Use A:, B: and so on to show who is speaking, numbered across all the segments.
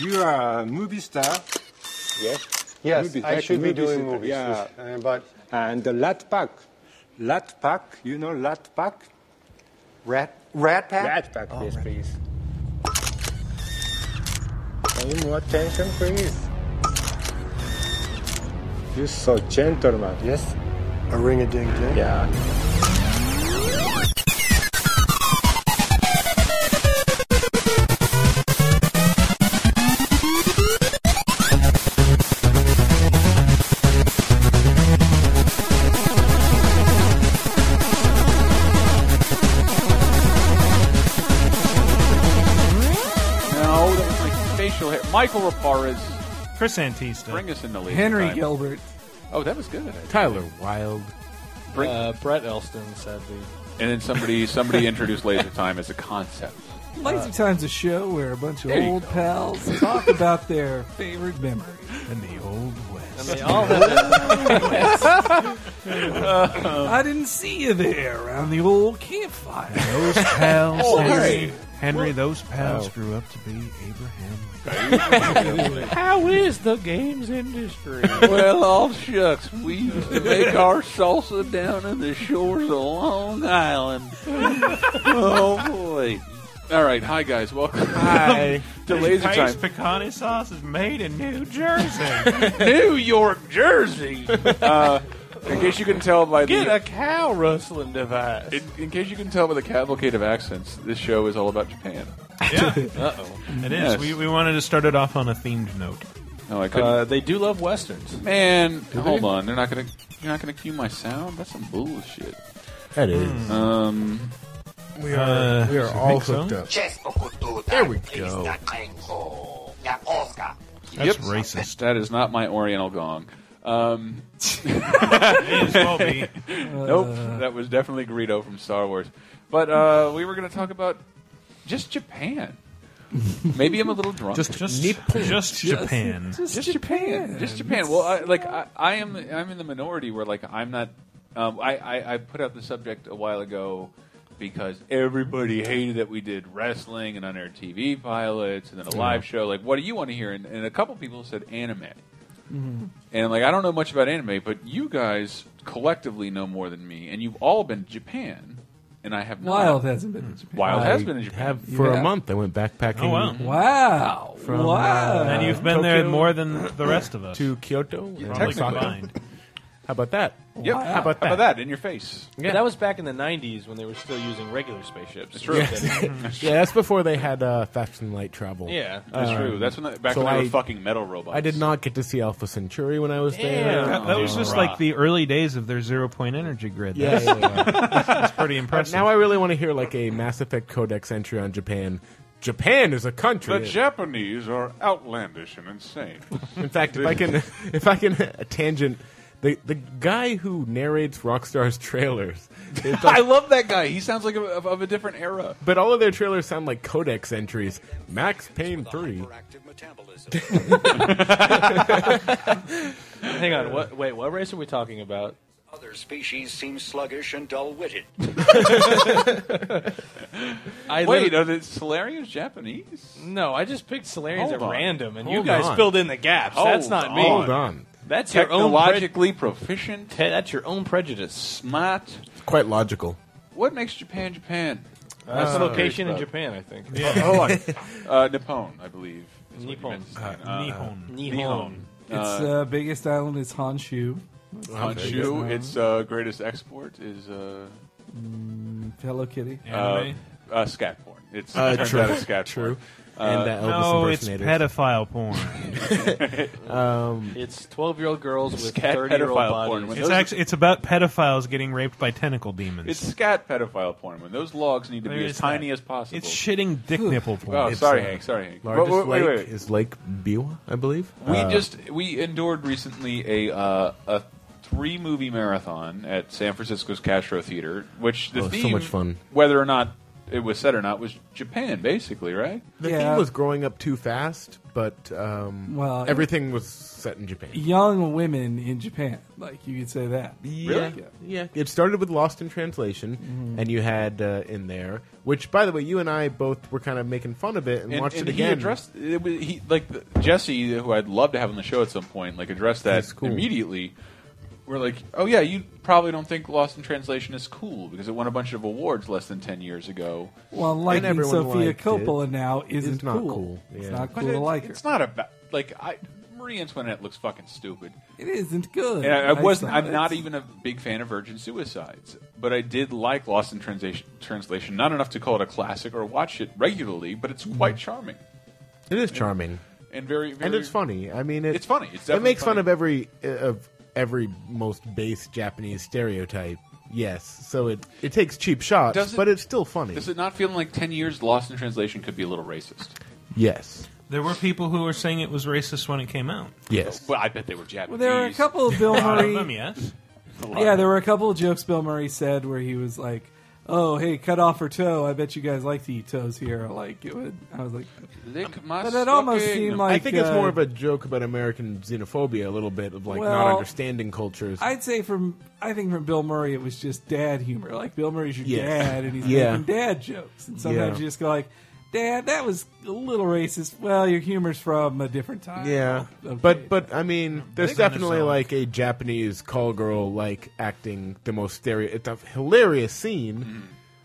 A: You are a movie star.
B: Yes.
C: Yes,
A: Movies,
C: I
A: like
C: should be
A: movies,
C: doing
A: it-
C: movies.
A: yeah.
C: uh, but
A: And the Lat Pack. Lat Pack, you know Lat Pack?
C: Rat Rat Pack.
A: Rat Pack,
C: Oh,
A: yes,
C: Rat-
A: please.
C: Pay more attention, please.
A: You're so gentleman.
C: Yes. A ring a ding ding.
A: Yeah.
B: No, that was like facial hair. Michael Raparez,
D: Chris Antista.
B: bring us in the lead.
E: Henry
B: time.
E: Gilbert.
B: Oh, that was good.
E: Tyler Wilde.
B: Bring,
F: Uh, Brett Elston, sadly.
B: and then somebody somebody introduced laser time as a concept.
E: Laser
D: Uh,
E: Time's a show where a bunch of
B: There you
E: old
B: go.
E: pals talk about their favorite memories in the Old West.
F: I mean, all that.
E: I didn't see you there around the old campfire. Those pals.
B: Oh, Henry.
D: Henry, those pals
B: oh.
D: grew up to be Abraham Lincoln.
F: How is the games industry?
B: well, all shucks, we used to make our salsa down in the shores of Long Island. oh boy! All right, hi guys, welcome
D: Hi.
B: to Laser
D: Pace
B: Time,
D: pecani sauce is made in New Jersey.
B: New York, Jersey. Uh, in case you can tell by the
F: Get a cow rustling device.
B: in, in case you can tell by the cavalcade of accents, this show is all about Japan.
D: yeah,
B: Uh oh.
D: it is.
B: Yes.
D: We, we wanted to start it off on a themed note.
B: No, I couldn't.
F: Uh, they do love westerns.
B: Man, hold on. They're not gonna. You're not gonna cue my sound. That's some bullshit.
G: That is.
B: Um,
G: we are,
D: Uh,
G: we are
D: I
G: all
D: think so.
G: hooked up.
H: There
G: we go.
D: That's racist.
B: that is not my Oriental gong. Um,
D: May as well be.
B: nope, that was definitely Greedo from Star Wars. But uh, we were gonna talk about just Japan. Maybe I'm a little drunk.
D: Just, just Japan.
B: just Japan. Just Japan. Well, I, like I, I am, I'm in the minority where like I'm not. Um, I, I I put out the subject a while ago because everybody hated that we did wrestling and on air TV pilots and then a live show. Like, what do you want to hear? And, and a couple people said anime. And I'm like, I don't know much about anime, but you guys collectively know more than me, and you've all been to Japan, and I have not.
E: Wild hasn't been in Japan.
B: Wild has
G: I
B: been in Japan.
G: Have, for
E: Yeah.
G: a month, I went backpacking
D: Oh, wow.
E: Wow.
G: From,
E: wow.
G: uh,
D: And you've been there
G: Tokyo-
D: more than the rest of us.
G: to Kyoto. and
D: Probably
G: Osaka.
D: combined.
G: How about that?
B: Yep.
E: Wow.
B: How about that?
G: How about
B: in your face?
F: But that was back in the 90s when they were still using regular spaceships. That's
B: true.
G: Yeah, that's before they had uh, fast and light travel.
F: yeah.
B: That's true. That's when the, back
G: so
B: when they were
G: I-
B: fucking metal robots.
G: I did not get to see Alpha Centauri when I was there.
D: That, that was just like the early days of their zero point energy grid.
G: Yeah,
D: That's
G: yeah, yeah.
D: pretty impressive.
G: now I really want to hear like a Mass Effect Codex entry on Japan. Japan is a country.
B: The Japanese are outlandish and insane.
G: In fact, if I can, if I can, a tangent. The the guy who narrates Rockstar's trailers, it's like-
B: I love that guy. He sounds like a, of, of a different era.
G: but all of their trailers sound like Codex entries. Max Payne three.
F: Hang on. What? Wait, what race are we talking about?
H: Other species seem sluggish and dull-witted.
F: I
B: Wait,
F: lit-
B: are the Solarians Japanese?
F: no, I just picked Solarians
B: Hold
F: at
B: on.
F: random, and you
G: Hold
F: guys
G: on.
F: filled in the gaps. that's
B: Hold
F: not
G: Hold
F: me.
G: on,
F: That's your own pre-
B: Technologically proficient,
F: te- That's your own prejudice.
B: smart.
G: it's quite logical.
B: What makes Japan Japan?
F: That's the location in
B: Japan.
F: Japan, I think.
B: oh, I, uh, Nippon, I believe. is what you
F: Nippon.
B: meant to say. Uh,
D: Nihon.
F: Nihon.
E: its uh, biggest island is Honshu.
B: Honshu, its uh, greatest export is uh,
E: Hello Kitty.
B: uh,
D: Anime.
B: uh, scat porn. It's
G: Uh,
B: turns
G: true.
B: out it's scat porn.
G: True. and uh, Elvis
D: no, it's
G: impersonator.
D: pedophile porn.
F: It's 12 year old girls with
B: Scat
F: 30 year old
B: pedophile porn.
F: bodies.
B: When
D: it's
B: those-
D: actually it's about pedophiles getting raped by tentacle demons.
B: It's scat pedophile porn. When those logs need to
D: There
B: be as
D: is
B: tiny
D: that.
B: as possible.
D: It's shitting dick nipple porn.
B: Oh,
G: It's,
B: sorry,
G: uh,
B: Hank. Sorry, Hank.
G: Largest
B: Wait, wait, wait,
G: lake
B: wait.
G: is Lake Biwa, I believe.
B: We
G: Uh,
B: just we endured recently a uh, a three movie marathon at San Francisco's Castro Theater, which the
G: Oh, so
B: theme
G: much fun.
B: whether or not it was said or not was Japan, basically, right?
G: The
E: Yeah.
G: theme was growing up too fast, but um,
E: Well, it-
G: everything was set in Japan.
E: Young women in Japan, like you could say that.
G: Yeah, yeah. It started with Lost in Translation,
E: Mm-hmm.
G: and you had uh, in there, which, by the way, you and I both were kind of making fun of it and, watched it
B: He
G: again.
B: addressed it was, he like the, Jesse, who I'd love to have on the show at some point, like addressed that
G: He's cool.
B: immediately. We're like, oh yeah, you probably don't think Lost in Translation is cool because it won a bunch of awards less than ten years ago.
E: Well, liking
G: everyone
E: Sophia
G: liked
E: Coppola
G: it.
E: now isn't
G: It's not
E: cool.
G: cool,
E: It's
G: yeah.
E: not
B: But
E: cool to
B: it-
E: like her.
B: it's not about like I, Marie Antoinette looks fucking stupid.
E: It isn't good.
B: And I, I
E: Like,
B: wasn't.
E: so
B: I'm not
E: it's-
B: even a big fan of Virgin Suicides, but I did like Lost in Translation. Translation, not enough to call it a classic or watch it regularly, but it's quite charming
G: it is charming,
B: and very. very
G: Mm-hmm. and it's funny. I mean, it,
B: It's funny. It's
G: it
B: definitely
G: makes fun
B: funny.
G: of every uh, of every most base Japanese stereotype. Yes, so it it takes cheap shots,
B: Does it-
G: but it's still funny.
B: Does it not feel like ten years Lost in Translation could be a little racist?
G: yes,
F: There were people who were saying it was racist when it came out.
G: yes.
B: Well, I bet they were Japanese.
E: Well, there were a couple of Bill
F: One of them,
E: Murray.
F: yes.
E: yeah, there were a couple of jokes Bill Murray said where he was like, "Oh, hey, cut off her toe. I bet you guys like to eat toes here." Like it would. I was like,
B: Lick my
E: But it almost
B: stocking.
E: seemed like-
G: I think it's
E: uh,
G: more of a joke about American xenophobia, a little bit of like not
E: Well,
G: understanding cultures.
E: I'd say from I think from Bill Murray it was just dad humor. Like Bill Murray's your
G: Yes.
E: dad and he's
G: Yeah.
E: making dad jokes. And sometimes
G: Yeah.
E: you just go like, Dad, that was a little racist. Well, your humor's from a different time.
G: Yeah,
E: Okay.
G: but but I mean, there's
F: Big on
G: definitely
F: his own.
G: like a Japanese call girl like acting the most stereo. It's a hilarious scene.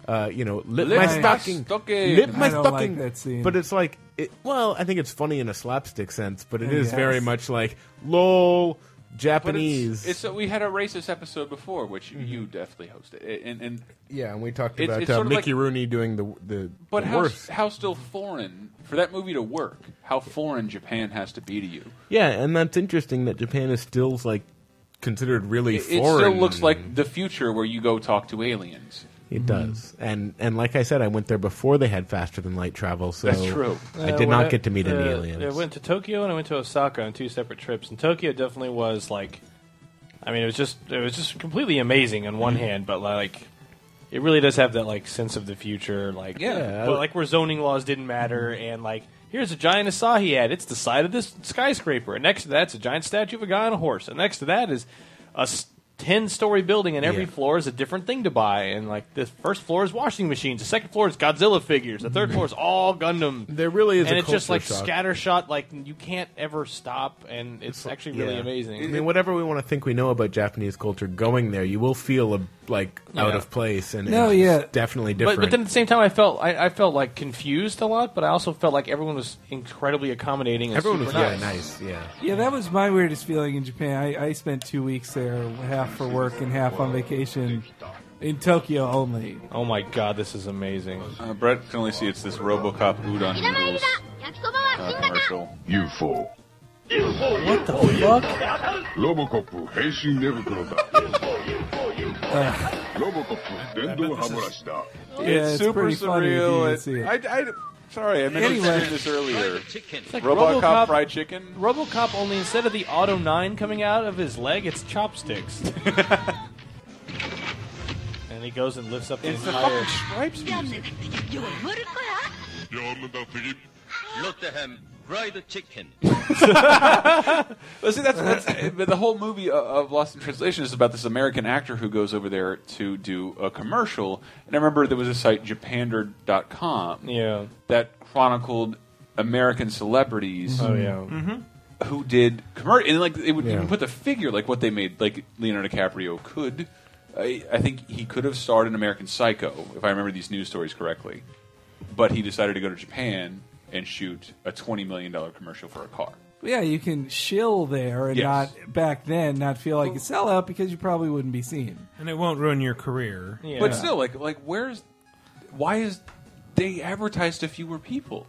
G: Uh, you know, lip,
B: Mm. Lip
G: my
B: my
G: stocking,
B: stocking.
G: lip my
E: I don't
G: stocking.
E: like that scene.
G: But it's like, it, well, I think it's funny in a slapstick sense, but it
E: Yeah,
G: is
E: yes.
G: very much like lol
B: But
G: Japanese. Mm-hmm.
B: it's, it's we had a racist episode before, which you definitely hosted, and and
G: yeah, and we talked
B: it's-
G: about
B: it's
G: uh,
B: sort of
G: Mickey
B: like-
G: Rooney doing the the,
B: But
G: the
B: how,
G: worst.
B: how still foreign for that movie to work? How foreign Japan has to be to you?
G: yeah, and that's interesting that Japan is still like considered really
B: It, it
G: foreign.
B: still looks like the future where you go talk to aliens.
I: Mm-hmm.
G: It does, and and like I said, I went there before they had faster than light travel. So
B: That's true.
G: I
F: Uh,
G: did
F: when
G: not
F: I-
G: get to meet any
F: uh,
G: aliens.
F: uh,
G: It,
F: when-
I: went to Tokyo and I went to Osaka on two separate trips. And Tokyo definitely was like, I mean, it was just it was just completely amazing on
G: Mm-hmm.
I: one hand, but like, it really does have that like sense of the future, like
B: Yeah.
G: Yeah, I- Mm-hmm.
I: but like where zoning laws didn't matter, and like here's a giant Asahi ad. It's the side of this skyscraper, and next to that's a giant statue of a guy on a horse, and next to that is a. s- Ten-story building, and every
G: Yeah.
I: floor is a different thing to buy. And like the first floor is washing machines, the second floor is Godzilla figures, the
G: Mm-hmm.
I: third floor is all Gundam
G: There really is
I: and
G: a
I: it's just
G: culture
I: like
G: shock.
I: scattershot. Like you can't ever stop, and it's, actually really
G: yeah.
I: amazing.
G: I mean, whatever we want to think we know about Japanese culture, going there, you will feel a, like out
I: Yeah.
G: of place, and
E: No,
G: it's
E: yeah.
G: definitely
I: but,
G: different.
I: but then at the same time, I felt I, I felt like confused a lot, but I also felt like everyone was incredibly accommodating. And
G: everyone was
I: super
G: yeah, nice, yeah.
E: Yeah, that was my weirdest feeling in Japan. I, I spent two weeks there, half for work and half on vacation in Tokyo only.
I: Oh my god, this is amazing.
B: Uh, Brett can only see it's this RoboCop udon noodles uh, commercial.
J: UFO.
E: What the fuck?
J: Robocop 変身寝袋 だ。Robocop 電動歯ブラシだ。
E: Yeah, it's,
B: super
E: pretty funny if you
B: surreal.
E: didn't
B: It-
E: see it.
B: I, I- sorry, I meant
E: Anyway.
B: to say this earlier.
I: It's like
B: RoboCop, fried chicken.
I: RoboCop only instead of the Auto Nine coming out of his leg, it's chopsticks. and he goes and lifts up the
B: It's the
I: entire.
B: fucking stripes music. But see, that's, that's but the whole movie of- of Lost in Translation is about this American actor who goes over there to do a commercial. And I remember there was a site, japander.com,
I: Yeah.
B: that chronicled American celebrities
I: Oh yeah.
B: who did commercial, and like it would
G: Yeah.
B: even put the figure like what they made. Like Leonardo DiCaprio could, I, I think he could have starred in American Psycho if I remember these news stories correctly, but he decided to go to Japan and shoot a twenty million dollar commercial for a car.
E: Yeah, you can shill there and
B: Yes.
E: not back then not feel like a sellout because you probably wouldn't be seen.
F: And it won't ruin your career.
I: yeah.
B: But still, like like where's why is they advertised to fewer people?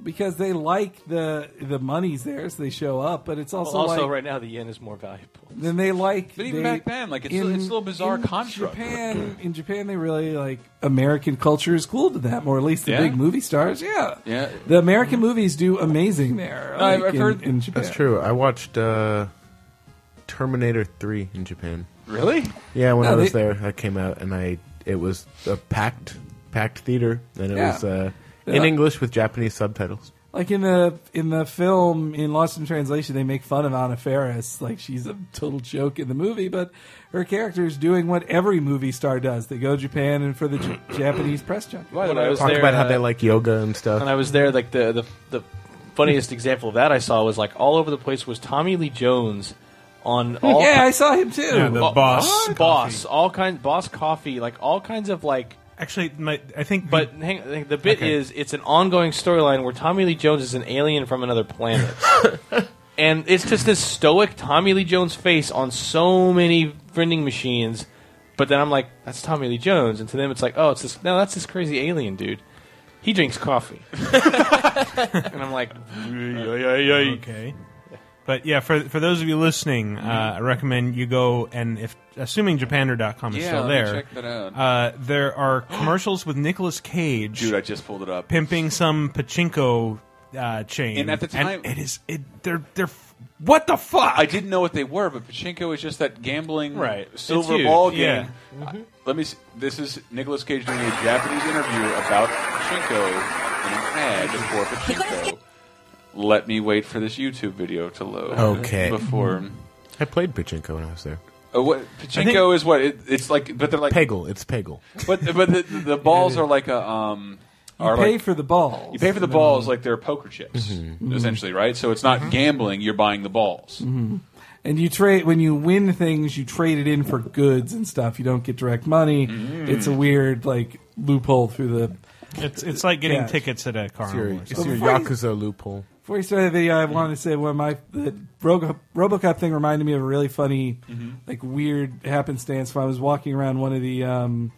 E: because they like the the money's there, so they show up. But it's also,
I: Well, also,
E: like
I: right now the yen is more valuable.
E: then they like.
B: But even
E: they-
B: back then, like, it's still- it's still a bizarre
E: in
B: construct.
E: Japan, in Japan, they really like American culture is cool to them, or at least the
B: Yeah?
E: big movie stars. Yeah,
B: Yeah.
E: The American movies do amazing there.
B: No, I've-
E: like,
B: I've
E: in-
B: heard-
E: in Japan.
G: That's true. I watched uh, Terminator Three in Japan.
B: Really?
G: Yeah, when
E: No,
G: I was
E: they-
G: there, I came out and I it was a packed packed theater, and it
E: Yeah.
G: was uh,
E: Yeah.
G: in English with Japanese subtitles.
E: Like in the in the film in Lost in Translation, they make fun of Anna Faris. Like she's a total joke in the movie, but her character is doing what every movie star does. They go to Japan and for the J- Japanese press junket.
I: When I was
G: Talk
I: there,
G: about how
I: uh,
G: they like yoga and stuff.
I: when I was there, like the, the the funniest example of that I saw was like all over the place was Tommy Lee Jones on all
E: Yeah,
I: ki-
E: I saw him too.
K: Yeah, the
I: all-
K: boss.
I: boss,
K: coffee.
I: all kinds, boss coffee, like all kinds of like.
K: Actually, my, I think.
I: But hang, hang- the bit
K: Okay.
I: is it's an ongoing storyline where Tommy Lee Jones is an alien from another planet. And it's just this stoic Tommy Lee Jones face on so many vending machines, but then I'm like, that's Tommy Lee Jones, and to them it's like, oh, it's this no, that's this crazy alien dude. He drinks coffee, and I'm like,
K: Okay. But yeah, for for those of you listening, uh,
B: Mm-hmm.
K: I recommend you go and if assuming Japaner.com is
B: Yeah,
K: still
B: let me
K: there,
B: check that out.
K: Uh, there are commercials with Nicolas Cage
B: Dude, I just pulled it up.
K: pimping some pachinko uh, chain,
B: And at the time-
K: it is it they're they're f- what the fuck?
B: I didn't know what they were, but pachinko is just that gambling
I: Right. It's
B: silver
I: huge.
B: ball game.
K: Yeah.
B: I- Let me. See. This is Nicolas Cage doing a Japanese interview about pachinko and an ad for pachinko. Let me wait for this YouTube video to load.
G: Okay.
B: Before.
G: I played pachinko when I was there.
B: Oh, what pachinko is what it, it's like, but they're like,
G: Peggle, it's Peggle.
B: but but the, the balls are like a um.
E: You
B: are
E: pay
B: like-
E: for the balls.
B: You pay for the balls like they're poker chips, essentially, right? So it's not gambling; you're buying the balls.
E: And you trade when you win things, you trade it in for goods and stuff. You don't get direct money.
B: Mm.
E: It's a weird like loophole through the.
K: it's it's like getting
E: Yeah.
K: tickets at a
G: It's your,
K: carnival. or
G: it's
K: something.
E: Before
G: your
E: you-
G: Yakuza loophole.
E: Before we started the video, I wanted to say one of my the Robo, RoboCop thing reminded me of a really funny,
B: Mm-hmm.
E: like weird happenstance. When I was walking around one of the um,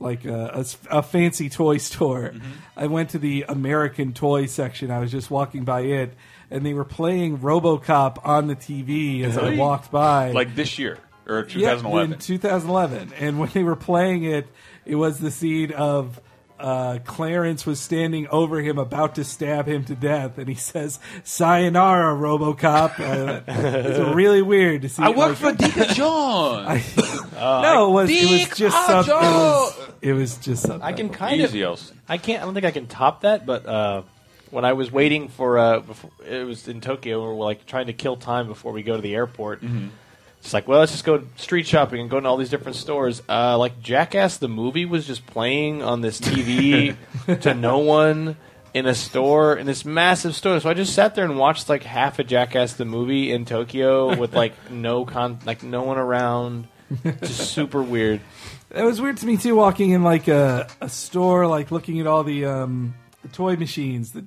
E: like uh, a, s- a fancy toy store,
B: Mm-hmm.
E: I went to the American toy section. I was just walking by it, and they were playing RoboCop on the TV as I
B: Really?
E: walked by,
B: Like this year or
E: Yeah,
B: 2011.
E: in 2011. And when they were playing it, it was the scene of uh, Clarence was standing over him, about to stab him to death, and he says, "Sayonara, RoboCop." Uh, it's really weird to see.
B: I work for
E: like-
B: Deacon John.
E: no, it was, it
B: Dick
E: was just something. It
B: Arjo!
E: was, it was just something.
I: I can kind
B: Easy
I: of,
B: else.
I: I can't, I don't think I can top that. But uh, when I was waiting for, uh, before, it was in Tokyo, we were like trying to kill time before we go to the airport. It's like, well, let's just go street shopping and go to all these different stores. Uh, like Jackass the movie was just playing on this TV to no one in a store in this massive store. So I just sat there and watched like half a Jackass the movie in Tokyo with like no con, like no one around. Just super weird.
E: That was weird to me too. Walking in like a, a store, like looking at all the um, the toy machines that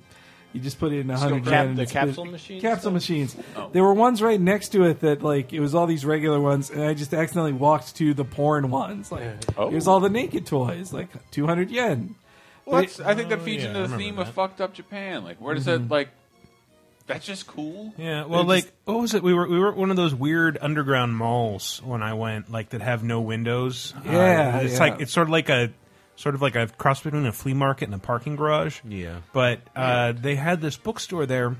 E: you just put in a hundred
I: cap-
E: grand. and
I: the
E: split-
I: capsule machines
E: Capsule
I: stuff? Oh.
E: machines. There were ones right next to it that like it was all these regular ones, and I just accidentally walked to the porn ones. Like here's
I: Oh.
E: all the naked toys, like two hundred yen.
B: Well, that's, I think that feeds
K: yeah, I
B: into the
K: remember
B: theme of
K: that. Mm-hmm.
B: fucked up Japan. Like, where does that like? That's just cool.
K: Yeah, well,
B: They're
K: like
B: just-
K: what was it? We were we were at one of those weird underground malls when I went, like that have no windows. Uh,
E: Yeah,
K: it's
E: yeah.
K: like it's sort of like a sort of like a cross between a flea market and a parking garage.
G: Yeah.
K: but uh, they had this bookstore there,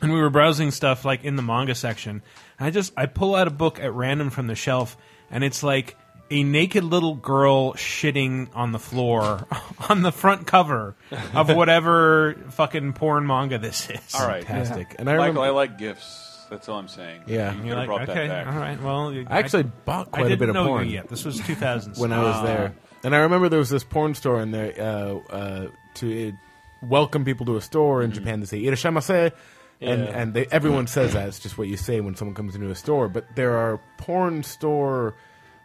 K: and we were browsing stuff like in the manga section. And I just I pull out a book at random from the shelf, and it's like a naked little girl shitting on the floor on the front cover of whatever fucking porn manga this is.
B: all right,
G: Fantastic. And I
B: Michael,
G: remember,
B: I like gifts. That's all I'm saying.
G: Yeah.
B: you could
K: You're
B: have
K: like,
B: brought
K: okay, uh-huh.
B: that back.
K: all right. Well, you-
G: I actually bought
K: I
G: quite a
K: didn't
G: bit of
K: know you
G: porn
K: yet. Ah. This was 2000.
G: when I was there. And I remember there was this porn store in there uh, uh, to uh, welcome people to a store in Japan to say "irashamase," and
I: Yeah.
G: and they, everyone says that. It's just what you say when someone comes into a store. But there are porn store.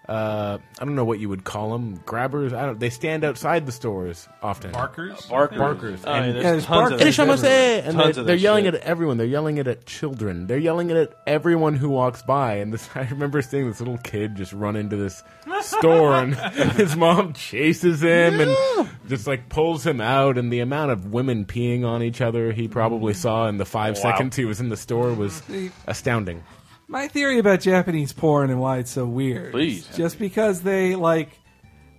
G: Uh, I don't know what you would call them. Grabbers. I don't. They stand outside the stores often.
K: Barkers.
B: Barker.
G: Barkers.
I: Oh,
G: and
I: yeah, there's
E: yeah, there's
I: tons of
E: Barker.
I: that shit.
G: Irashamase! And
I: Tons
G: they're,
I: of
G: they're
I: that
G: yelling
I: shit.
G: at everyone. They're yelling it at children. They're yelling it at everyone who walks by. And this, I remember seeing this little kid just run into this store, and his mom chases him and just like pulls him out. And the amount of women peeing on each other he probably saw in the five seconds he was in the store was astounding.
E: My theory about Japanese porn and why it's so weird.
B: Please.
E: is Just because they, like,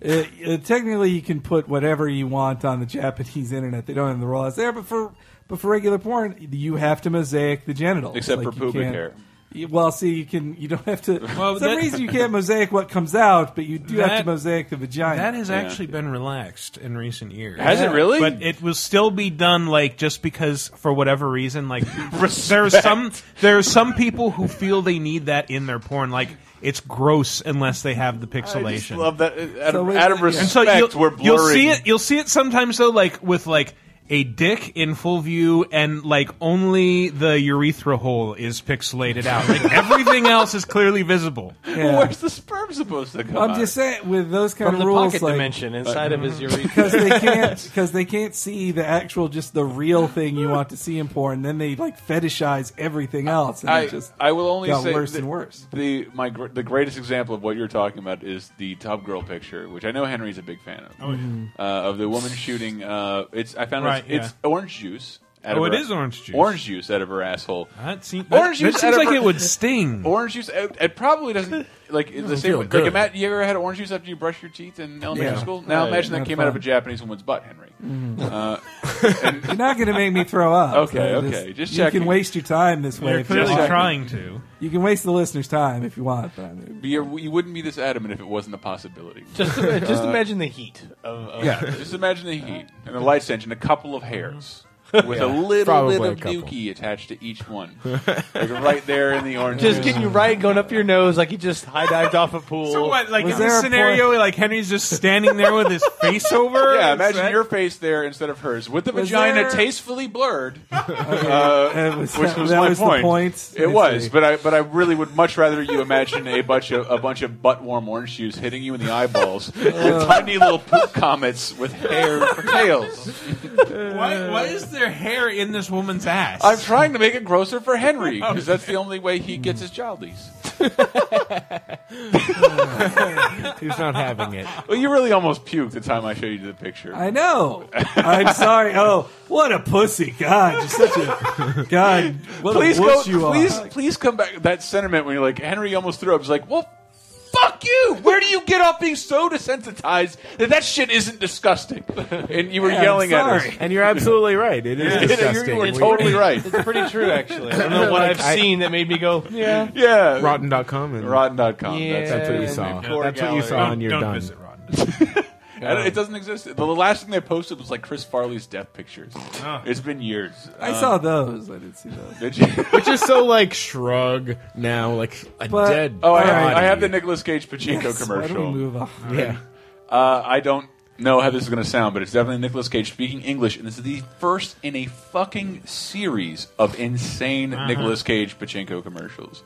E: uh, uh, technically you can put whatever you want on the Japanese internet. They don't have the laws there, but for but for regular porn, you have to mosaic the genitals.
B: Except for
E: Like, you
B: pubic
E: can't-
B: hair.
E: You- Well, see, you can. You don't have to.
K: Well,
E: for some
K: that-
E: reason you can't mosaic what comes out, but you do have
K: That-
E: to mosaic the vagina.
K: That has actually been relaxed in recent years.
E: Has it really?
K: But it will still be done like just because for whatever reason like there's some there are some people who feel they need that in their porn like it's gross unless they have the pixelation.
B: love that. uh, Out
K: So
B: of,
K: it's-
B: out of respect,
K: and so you'll,
B: we're blurring.
K: you'll see it. You'll see it sometimes though, like with like a dick in full view, and like only the urethra hole is pixelated out. Like everything else is clearly visible.
E: Yeah.
B: Where's the sperm supposed to come
E: I'm
B: out?
E: just saying with those kind
K: From
E: of
K: the
E: rules,
K: pocket
E: like,
K: dimension inside of his urethra.
E: because they can't because they can't see the actual just the real thing you want to see in porn. Then they like fetishize everything else, and
B: I,
E: it just
B: I will only
E: got
B: say
E: worse
B: the,
E: and worse.
B: The my gr- the greatest example of what you're talking about is the Top Girl picture, which I know Henry's a big fan of.
K: Oh, yeah. Mhm.
E: Mm-hmm.
B: uh, of the woman shooting. Uh, it's I found
K: Right,
B: it's, it's orange juice. Out
K: Oh,
B: of
K: it
B: her,
K: is orange juice.
B: Orange juice out of her asshole.
K: That seem- that- that
B: out
K: seems
B: of
K: like
B: her-
K: it would sting.
B: Orange juice. It, it probably doesn't. Like it's the
K: Doesn't
B: same.
K: feel
B: Way.
K: good.
B: Like Matt, you ever had orange juice after you brush your teeth in elementary
E: Yeah.
B: school? Now
E: Right.
B: imagine that
E: Not
B: came out of a
E: fun.
B: Japanese woman's butt, Henry.
E: Mhm.
B: Uh,
E: You're not going to make me throw up.
B: Okay,
E: so
B: okay, just
E: you
B: checking.
E: can waste your time this way.
K: You're
E: if
K: clearly
E: you want.
K: trying to.
E: You can waste the listeners' time if you want. But I mean,
B: But you're, you wouldn't be this adamant if it wasn't a possibility.
I: Just- just imagine the heat of- of-
B: yeah. Just imagine the heat and the light stench and a couple of hairs with
I: Mm-hmm. Yeah,
B: a little
I: probably
B: bit
I: a
B: of
I: couple.
B: dookie attached to each one, like right there in the orange.
I: Just
B: juice.
I: getting you right going up your nose like you just high dived off a pool.
K: So what? Like in this scenario, where, like Henry's just standing there with his face over.
B: Yeah,
K: Is
B: imagine
K: that-
B: your face there instead of hers, with the
K: Was
B: vagina
K: there-
B: tastefully blurred,
E: That
B: uh,
E: was-
B: which was
E: that
B: my
E: was the
B: point.
E: point?
B: It
E: I
B: was,
E: see.
B: but I but I really would much rather you imagine a bunch of a bunch of butt warm orange juice hitting you in the eyeballs with tiny little poop comets with hair for tails.
K: Why, why is there hair in this woman's ass?
B: I'm trying to make it grosser for Henry because that's the only way he gets his childies.
G: He's not having it.
B: Well, you really almost puked the time I showed you the picture.
E: I know. I'm sorry. Oh, what a pussy! God, you're such a God. What
B: please
E: a
B: go.
E: wuss you are.
B: please, please come back. That sentiment when you're like Henry almost threw up. It's like, well, fuck you. Where do you get off being so desensitized that that shit isn't disgusting? And you were
G: Yeah, I'm
B: yelling at us.
G: sorry. And you're absolutely right. It is
B: Yeah.
G: disgusting.
B: You were
G: We-
B: totally right.
I: It's pretty true, actually. I don't know what
G: Like,
I: I've
G: I-
I: seen that made me go, yeah.
B: Yeah.
G: Rotten.com and
B: Rotten.com.
I: Yeah.
G: That's what you saw.
B: Maybe.
G: That's what you saw
B: Don't-
G: on your
B: don't
G: done.
B: visit I don't- it doesn't exist. The last thing they posted was like Chris Farley's death pictures. It's been years.
E: I
B: Um,
E: saw those. I didn't see those.
B: Did you?
G: Which is so like shrug now, like a
E: But-
G: dead.
B: Oh, I have,
G: body.
B: I have the Nicolas Cage Pachinko
E: Yes, why
B: commercial.
E: don't we move on?
G: Yeah.
B: Uh, I don't know how this is going to sound, but it's definitely Nicolas Cage speaking English, and this is the first in a fucking series of insane
K: Uh-huh.
B: Nicolas Cage Pachinko commercials.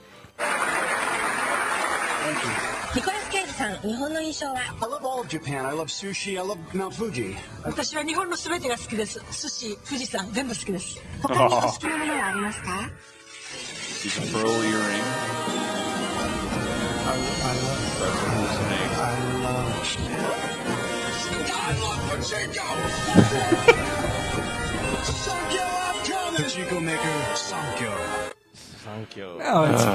L: ニコラス・ケイジさん、日本の印象は
M: I love all of Japan. I love sushi. I love Mount Fuji.
L: 私は日本のすべてが好きです。寿司、富士山、全部好きです。他にお好きなものはあります か
B: He's a pearl earring. That's
M: Chico Maker, Sankyo.
E: No, it's-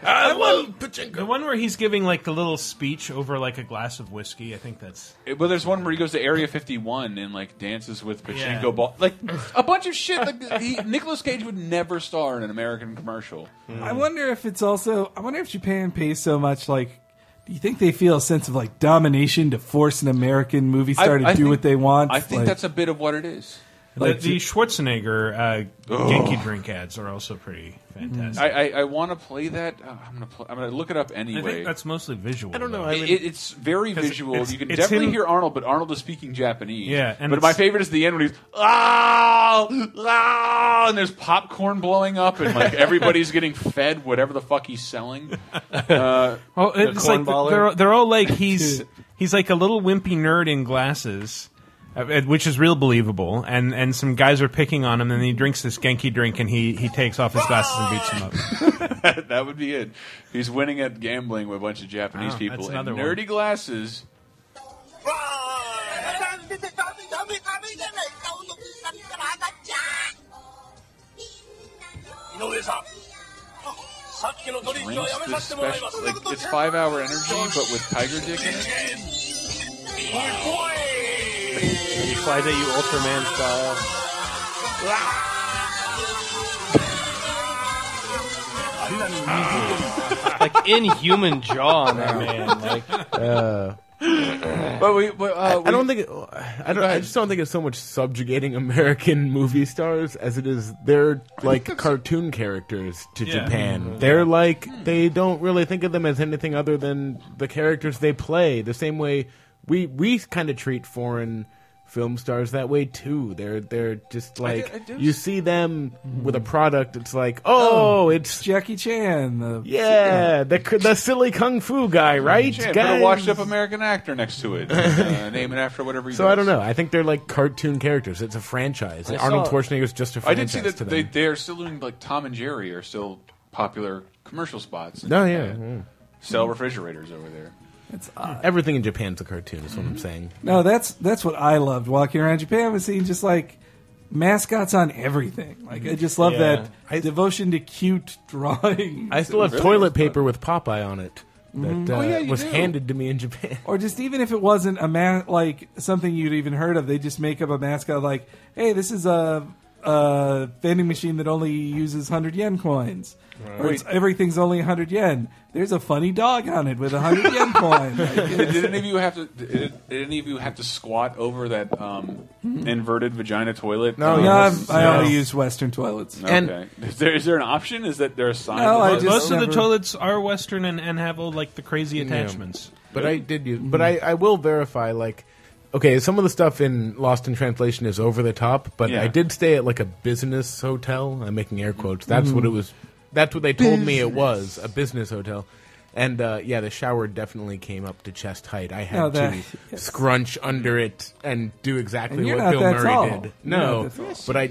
K: Uh, one, the one where he's giving like the little speech over like a glass of whiskey. I think that's
B: a snake. Well, there's one where he goes to Area 51 and like dances with Pachinko
K: Yeah.
B: ball, like a bunch of shit. Like he, Nicolas Cage would never star in an American commercial.
E: I wonder if it's also. I wonder if Japan pays so much. Like, do you think they feel a sense of like domination to force an American movie star to
B: I- I
E: do
B: think-
E: what they want?
B: I think
E: Like,
B: that's a bit of what it is.
E: Like
K: the, the Schwarzenegger uh, Genki drink ads are also pretty fantastic.
B: I, I, I want to play that. Uh, I'm gonna play, I'm gonna look it up anyway.
K: I think that's mostly visual.
B: I don't know.
K: though.
B: it, it's very
K: 'Cause
B: visual.
K: it's-
B: you can
K: it's
B: definitely
K: him-
B: hear Arnold, but Arnold is speaking Japanese.
K: Yeah, and
B: but
K: it's-
B: my favorite is the end when he's ah, ah, and there's popcorn blowing up, and like everybody's getting fed whatever the fuck he's selling. Uh,
K: Well,
B: the
K: Oh, it's
B: corn
K: like
B: baller.
K: they're they're all like he's he's like a little wimpy nerd in glasses, uh, uh, which is real believable. And and some guys are picking on him, and he drinks this Genki drink, and he he takes off his glasses and beats him up.
B: that would be it. He's winning at gambling with a bunch of Japanese
K: Wow,
B: people
K: that's
B: and
K: another one.
B: nerdy glasses. Drinks this special, like it's five hour energy, but with tiger dick in it.
I: He flies at you Ultraman style. like inhuman jaw on that man. Like,
G: Uh,
I: But
B: we, but,
G: I, I don't think it, I, don't, I just don't think it's so much subjugating American movie stars as it is they're like cartoon characters to
K: Yeah.
G: Japan.
K: Mhm.
G: They're like they don't really think of them as anything other than the characters they play. The same way we we kind of treat foreign film stars that way too. They're they're just like
E: I do-
G: you see them with a product. It's like oh, it's
E: Jackie Chan. The,
G: yeah, the the the silly kung fu guy, right?
B: Shit, put a
G: Guys.
B: washed up American actor next to it. Uh, name it after whatever you
G: So I don't know. I think they're like cartoon characters. It's a franchise.
B: I
G: And Arnold
B: saw-
G: Schwarzenegger is just a
B: I did
G: franchise
B: see
G: to
B: that
G: them.
B: they, they are still doing like Tom and Jerry are still popular commercial spots.
G: No, Oh, yeah,
B: Uh,
G: yeah.
B: Sell refrigerators over there.
E: It's
G: Everything in Japan's a cartoon. Is what
B: Mm-hmm.
G: I'm saying.
E: No, that's that's what I loved walking around Japan was seeing just like mascots on everything. Like I just love
G: Yeah.
E: that devotion to cute drawing.
G: I still have toilet paper with Popeye on it that
B: Mm-hmm.
E: Mhm.
G: uh,
E: Oh, yeah, you
G: was
E: do.
G: handed to me in Japan.
E: Or just even if it wasn't a ma- like something you'd even heard of, they just make up a mascot like, "Hey, this is a, a vending machine that only uses hundred yen coins."
B: Right.
E: Or it's, everything's only 100 yen. There's a funny dog on it with a 100 yen coin. Like,
B: did, did any of you have to? Did, did any of you have to squat over that um, inverted vagina toilet?
E: Mm-hmm. No,
B: Um,
E: no, I've- I
B: no.
E: only use Western toilets.
B: Okay. is, there, is there an option? Is that there a sign?
E: No, I
K: Most
E: just
K: of the
E: never-
K: toilets are Western and, and have all like the crazy attachments.
G: But I did use. But
E: Mm-hmm.
G: I, I will verify. Like, okay, some of the stuff in Lost in Translation is over the top. But
K: Yeah.
G: I did stay at like a business hotel. I'm making air quotes. That's
K: Mhm.
E: Mm-hmm.
G: what it was. That's what they told me it was a business hotel. And uh, yeah, the shower definitely came up to chest height. I had
E: No, that-
G: to scrunch under it and do exactly
E: And you're
G: what
E: not
G: Bill
E: that
G: Murray
E: tall.
G: did.
E: You're not
G: No,
E: that tall.
G: but I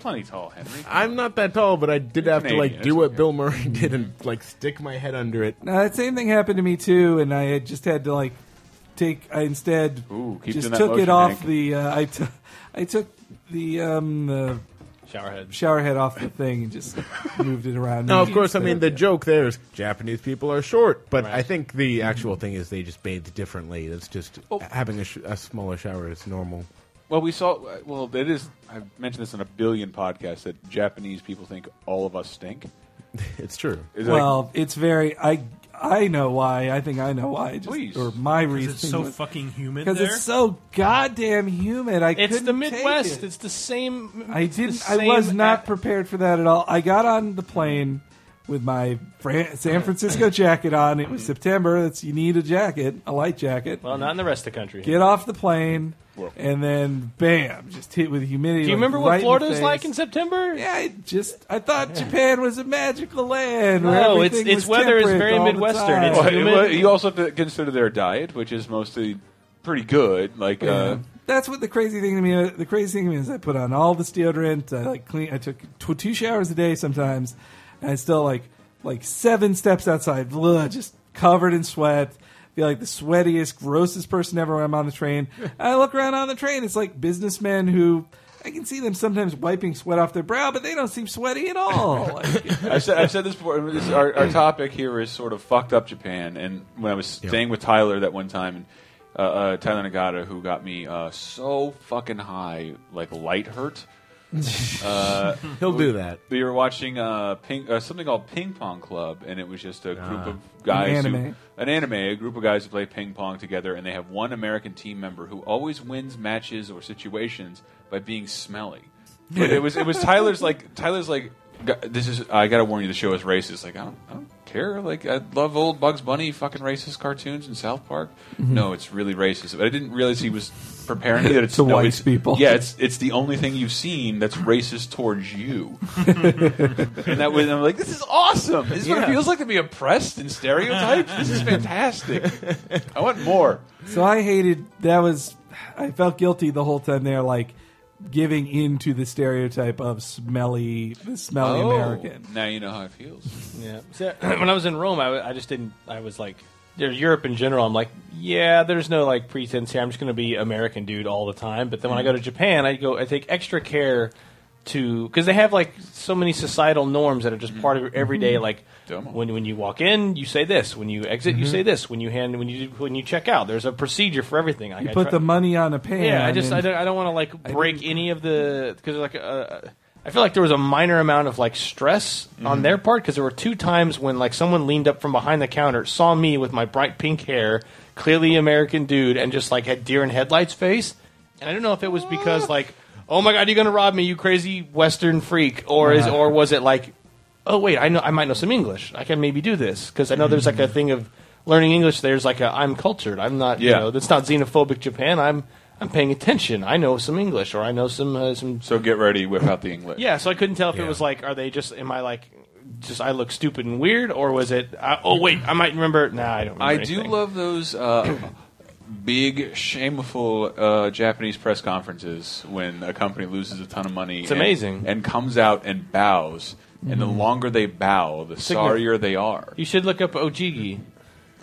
B: plenty tall, Henry.
G: I'm not that tall, but I did have to like
E: Canadian, Mm-hmm.
G: do what Bill Murray did and like stick my head under it.
E: No, that same thing happened to me too, and I had just had to like take. I instead
G: keep
E: just
G: doing that
E: took it
G: motion,
E: off
G: Hank.
E: the. Uh, I took. I took the um the
I: showerhead
E: showerhead off the thing and just moved it around.
G: No, of course. I mean, the joke there is Japanese people are short, but I think the actual thing is they just bathe differently. That's just
I: Oh.
G: having a, sh- a smaller shower is normal.
B: Well, we saw. Well, it is. I've mentioned this in a billion podcasts that Japanese people think all of us stink.
G: It's true.
B: Is it like-
E: well, it's very. I I know why. I think I know why. Just,
K: Please.
E: or my
K: 'Cause
E: reason.
K: it's so fucking humid
E: Because
K: there?
E: it's so goddamn humid. I
I: it's
E: couldn't
I: the
E: take it.
I: Midwest. It's the same.
E: I
I: it's the
E: didn't. I
I: same
E: was not prepared for that at all. I got on the plane with my Fran- San Francisco jacket on. It was September. That's you need a jacket, a light jacket.
I: Well, not in the rest of the country.
E: Get off the plane, and then bam, just hit with humidity.
I: Do
E: like,
I: you remember
E: right
I: what
E: in the
I: Florida is
E: face.
I: like in September?
E: Yeah, I just I thought Japan was a magical land. where
I: No, it's-
E: everything
I: it's
E: was
I: weather is
E: temperate
I: very
E: all the
I: Midwestern.
E: time.
I: It's
B: Well, it-
I: humid.
B: well, you also have to consider their diet, which is mostly pretty good. Like, uh,
E: That's what the crazy thing to me. uh, The crazy thing to me is I put on all this deodorant. I like clean. I took tw- two showers a day sometimes, and I still like like seven steps outside, ugh, just covered in sweat. Feel like the sweatiest, grossest person ever when I'm on the train. I look around on the train. It's like businessmen who I can see them sometimes wiping sweat off their brow, but they don't seem sweaty at all. Like,
B: I've, said, I've said this before. This, our, our topic here is sort of fucked up Japan. And when I was staying with Tyler that one time, and uh, uh, Tyler Nagata, who got me uh, so fucking high, like light hurt. uh,
G: He'll do
B: we-
G: that.
B: We were watching uh, ping, uh, something called Ping Pong Club, and it was just a group
G: Ah.
B: of guys,
E: An
B: who-
E: anime.
B: an anime, a group of guys who play ping pong together, and they have one American team member who always wins matches or situations by being smelly. But it was it was Tyler's like Tyler's like "Gu- this is I gotta warn you the show is racist. Like I don't, I don't care. Like I love old Bugs Bunny fucking racist cartoons and South Park.
E: Mm-hmm.
B: No, it's really racist. But I didn't realize he was preparing me that it's
E: To
B: no,
E: white
B: it's-
E: people.
B: Yeah, it's it's the only thing you've seen that's racist towards you. and that was I'm like this is awesome. This is what it
E: Yeah.
B: feels like to be oppressed and stereotyped. this is fantastic. I want more.
E: So I hated that was I felt guilty the whole time there like giving in to the stereotype of smelly the smelly
B: Oh,
E: American.
B: Now you know how it feels.
I: Yeah. So, when I was in Rome, I, w- I just didn't. I was like, yeah, Europe in general. I'm like, yeah, there's no like pretense here. I'm just going to be American dude all the time. But then when I go to Japan, I go, I take extra care to because they have like so many societal norms that are just part of your everyday. Like when when you walk in, you say this. When you exit, you
E: Mhm.
I: say this. When you hand, when you when you check out, there's a procedure for everything. Like,
E: You
I: I
E: put
I: try-
E: the money on a pan.
I: yeah, I just
E: and-
I: I don't, I don't want to like break any of the because like uh, I feel like there was a minor amount of like stress on their part because there were two times when like someone leaned up from behind the counter, saw me with my bright pink hair, clearly American dude, and just like had deer in headlights face. And I don't know if it was because like, oh my god, you're gonna rob me, you crazy Western freak, or is
N: Yeah.
I: or was it like, oh wait, I know I might know some English, I can maybe do this because I know there's like a thing of learning English. There's like a I'm cultured. I'm not you
B: Yeah.
I: know that's not xenophobic Japan. I'm I'm paying attention. I know some English or I know some uh, some.
B: So get ready, whip out the English.
I: Yeah, so I couldn't tell if it was like, are they just, am I like, just I look stupid and weird, or was it, uh, oh wait, I might remember. Nah, I don't. Remember
B: I do
I: anything.
B: love those uh, big, shameful uh, Japanese press conferences when a company loses a ton of money.
I: It's
B: and-
I: amazing.
B: And comes out and bows. And the
I: Mhm.
B: longer they bow, the
I: Signa-
B: sorrier they are.
I: You should look up ojigi.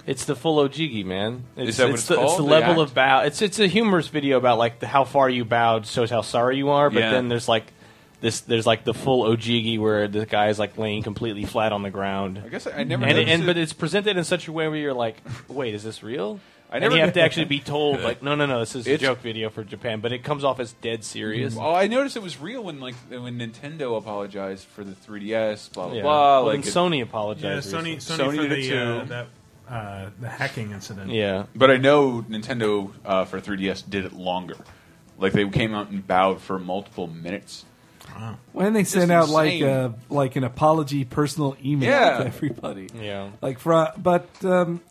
I: It's the full ojigi, man. It's,
B: Is that what it's
I: the, It's
B: called,
I: the
B: the
I: level
B: act?
I: of bow. It's it's a humorous video about like the, how far you bowed shows how sorry you are. But
B: Yeah.
I: then there's like this. There's like the full ojigi where the guy's like laying completely flat on the ground. I
B: guess I never
I: And,
B: noticed
I: and
B: it.
I: but it's presented in such a way where you're like, wait, is this real?
B: I
I: and
B: never-
I: you have to actually be told like, no, no, no, this is a
B: It's-
I: joke video for Japan. But it comes off as dead serious.
B: Oh, I noticed it was real when like when Nintendo apologized for the 3DS, blah blah
I: Yeah.
B: blah.
I: Well,
B: like
I: then
B: it-
I: Sony apologized
K: Yeah, Sony, Sony, for
B: did it
K: the,
B: too.
K: uh, that, uh, the hacking incident.
B: but I know Nintendo uh, for 3DS did it longer. Like they came out and bowed for multiple minutes.
E: When they
B: Just
E: send out like
B: insane.
E: a, like an apology personal email
B: Yeah.
E: to everybody,
B: Yeah.
E: like for, but um,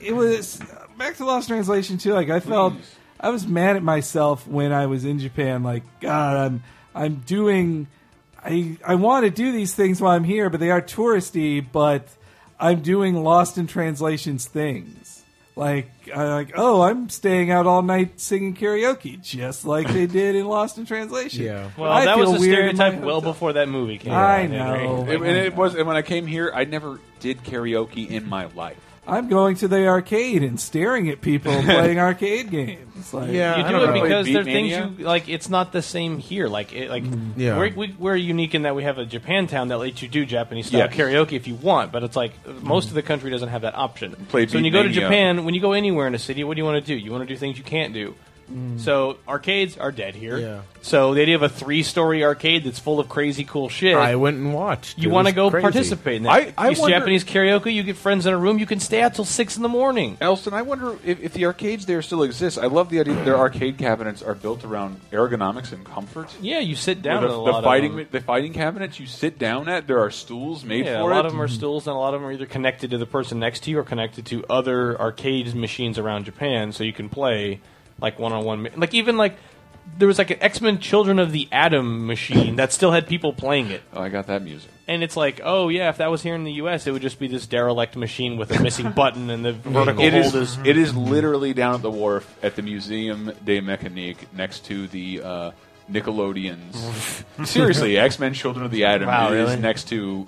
E: it was back to Lost Translation too. Like I felt I was mad at myself when I was in Japan. Like God, I'm I'm doing I I want to do these things while I'm here, but they are touristy. But I'm doing Lost in Translations things. Like I like oh I'm staying out all night singing karaoke just like they did in Lost in Translation.
B: Yeah.
I: Well,
E: I
I: that
E: feel
I: was a
E: weird in my
I: stereotype well before that movie came out.
E: I
I: Henry.
E: know.
B: It- and it was. And when I came here, I never did karaoke in my life.
E: I'm going to the arcade and staring at people playing arcade games. Like,
I: you do it because there are things you like. It's not the same here. Like, it, like
G: Mm.
E: Yeah.
I: we're, we, we're unique in that we have a Japantown that lets you do Japanese style
B: Yes.
I: karaoke if you want, but it's like
G: Mm.
I: most of the country doesn't have that option.
B: Play
I: so when you go to
B: Beatmania.
I: Japan, when you go anywhere in a city, what do you want to do? You want to do things you can't do. So arcades are dead here.
G: Mm. Yeah.
I: So the idea of a three-story arcade that's full of crazy cool shit.
G: I went and watched.
I: You
G: It
I: want to
G: was
I: go
G: crazy.
I: participate in that?
G: I- I
I: It's
G: wonder-
I: Japanese karaoke. You get friends in a room. You can stay out till six in the morning.
B: Elston, I wonder if, if the arcades there still exist. I love the idea that their arcade cabinets are built around ergonomics and comfort.
I: Yeah, you sit down
B: Where
I: in
B: The,
I: a
B: the
I: lot of
B: fighting
I: them.
B: the fighting cabinets you sit down at. There are stools made
I: yeah,
B: for
I: a lot
B: it.
I: of them are stools, and a lot of them are either connected to the person next to you or connected to other arcade machines around Japan, so you can play like one on one. Like even like there was like an X Men Children of the Atom machine that still had people playing it.
B: Oh, I got that music.
I: And it's like, oh yeah, if that was here in the U.S., it would just be this derelict machine with a missing button and the vertical
B: It
I: hold
B: is,
I: is.
B: it is literally down at the wharf at the Museum des Mécaniques next to the uh, Nickelodeon's. Seriously, X Men: Children of the Atom
I: Wow,
B: It is
I: really?
B: next to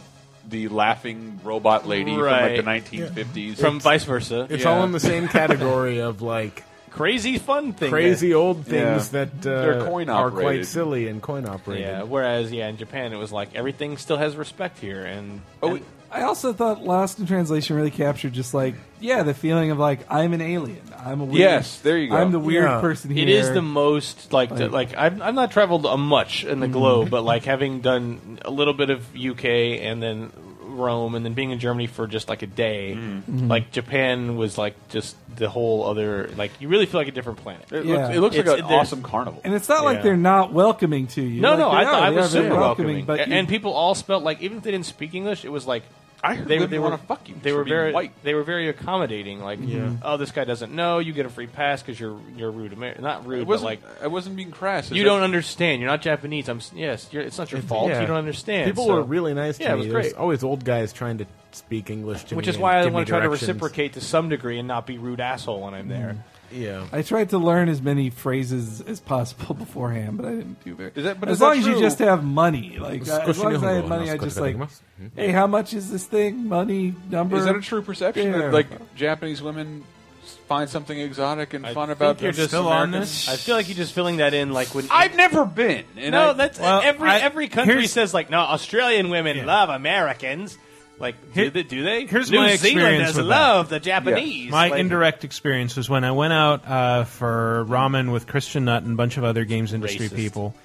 B: the laughing robot lady
I: Right.
B: from like the 1950s.
I: From vice versa.
G: It's
B: Yeah.
G: all in the same category of like
I: crazy fun things,
G: crazy
I: that-
G: old things that uh,
I: They're coin
G: are
I: operated.
G: quite silly and coin operated.
I: Yeah. Whereas, yeah, in Japan, it was like everything still has respect here, and
B: oh,
I: and-
E: I also thought Lost in Translation really captured just like yeah the feeling of like I'm an alien. I'm a weird,
I: Yes, there you go.
E: I'm the weird person here.
I: It is the most like
E: Like-
I: the- like I've, I've not traveled a much in the globe, but like having done a little bit of UK and then Rome and then being in Germany for just like a day,
B: Mhm.
I: like Japan was like just the whole other like you really feel like a different planet.
B: It
E: Yeah.
B: looks, it looks like
I: It's-
B: an
I: there's-
B: awesome carnival.
E: and it's not like they're not welcoming to you.
I: No,
E: Like,
I: no,
E: they
I: I,
E: are.
I: thought I
E: They
I: was
E: are very
I: super welcoming,
E: but
I: A-
E: you-
I: and people all spelt like even if they didn't speak English, it was like I
B: heard
I: they,
B: women
I: they were
B: wanna fuck you
I: They
B: for
I: were
B: being
I: very
B: white.
I: They were very accommodating. Like,
B: Yeah.
I: oh, this guy doesn't know. You get a free pass because you're you're rude. Amer- not rude,
B: It
I: but
B: wasn't
I: like
B: I wasn't being crass.
I: you don't understand. You're not Japanese. I'm s- yes. You're, it's not your fault.
G: Yeah.
I: You don't understand.
G: People
I: So-
G: were really nice to
I: yeah,
G: me.
I: it was
G: There's
I: great.
G: always old guys trying to speak English to me.
I: Which is
G: and
I: why I
G: give me
I: want to try to
G: directions.
I: reciprocate to some degree and not be rude asshole when I'm there.
G: Yeah.
E: I tried to learn as many phrases as possible beforehand, but I didn't do very.
B: Is that- but
E: as
B: is that
E: long as you
B: true?
E: just have money, like
B: It's
E: uh, as long as I had
B: questionable.
E: money, I
B: It's
E: just like,
B: questionable.
E: hey, how much is this thing? Money number?
B: Is that a true perception
E: Yeah.
B: that like Japanese women s- find something exotic and fun
I: think
B: about
I: you're
B: themselves?
I: just American. I feel like you're just filling that in, like when
B: I've never been. And
I: no,
B: I-
I: that's
B: Well,
I: every
B: I-
I: every country
B: here's-
I: says like no. Australian women love Americans. Like do, they, do they?
K: Here's
I: New
K: my experience
I: Zealanders
K: with
I: love
K: that.
I: the Japanese.
K: My
I: Like,
K: indirect experience was when I went out uh, for ramen with Christian Nutt and a bunch of other games industry
I: Racist.
K: people,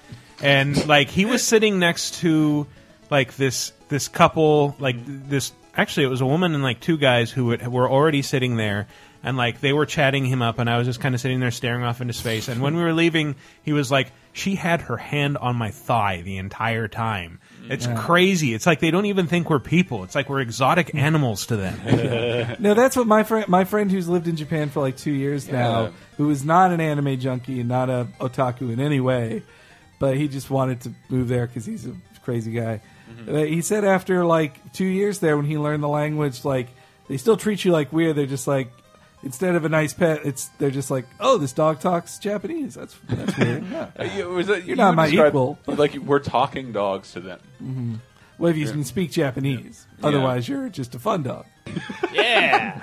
K: and like he was sitting next to like this this couple like this actually it was a woman and like two guys who would, were already sitting there and like they were chatting him up and i was just kind of sitting there staring off into space and when we were leaving he was like she had her hand on my thigh the entire time it's
E: Yeah.
K: crazy it's like they don't even think we're people it's like we're exotic animals to them
E: no, that's what my friend, my friend who's lived in Japan for like two years
K: Yeah.
E: now, who is not an anime junkie and not a otaku in any way, but he just wanted to move there because he's a crazy guy. Uh, he said after like two years there, when he learned the language, like they still treat you like weird. They're just like instead of a nice pet, it's they're just like, oh, this dog talks Japanese. That's that's weird. Yeah.
B: Uh, you- was that-
E: You're
B: you
E: not my
B: described-
E: equal.
B: Like we're talking dogs to them.
E: Mhm. Well, if you
B: Yeah.
E: can speak Japanese,
B: Yeah.
E: otherwise you're just a fun dog.
B: Yeah.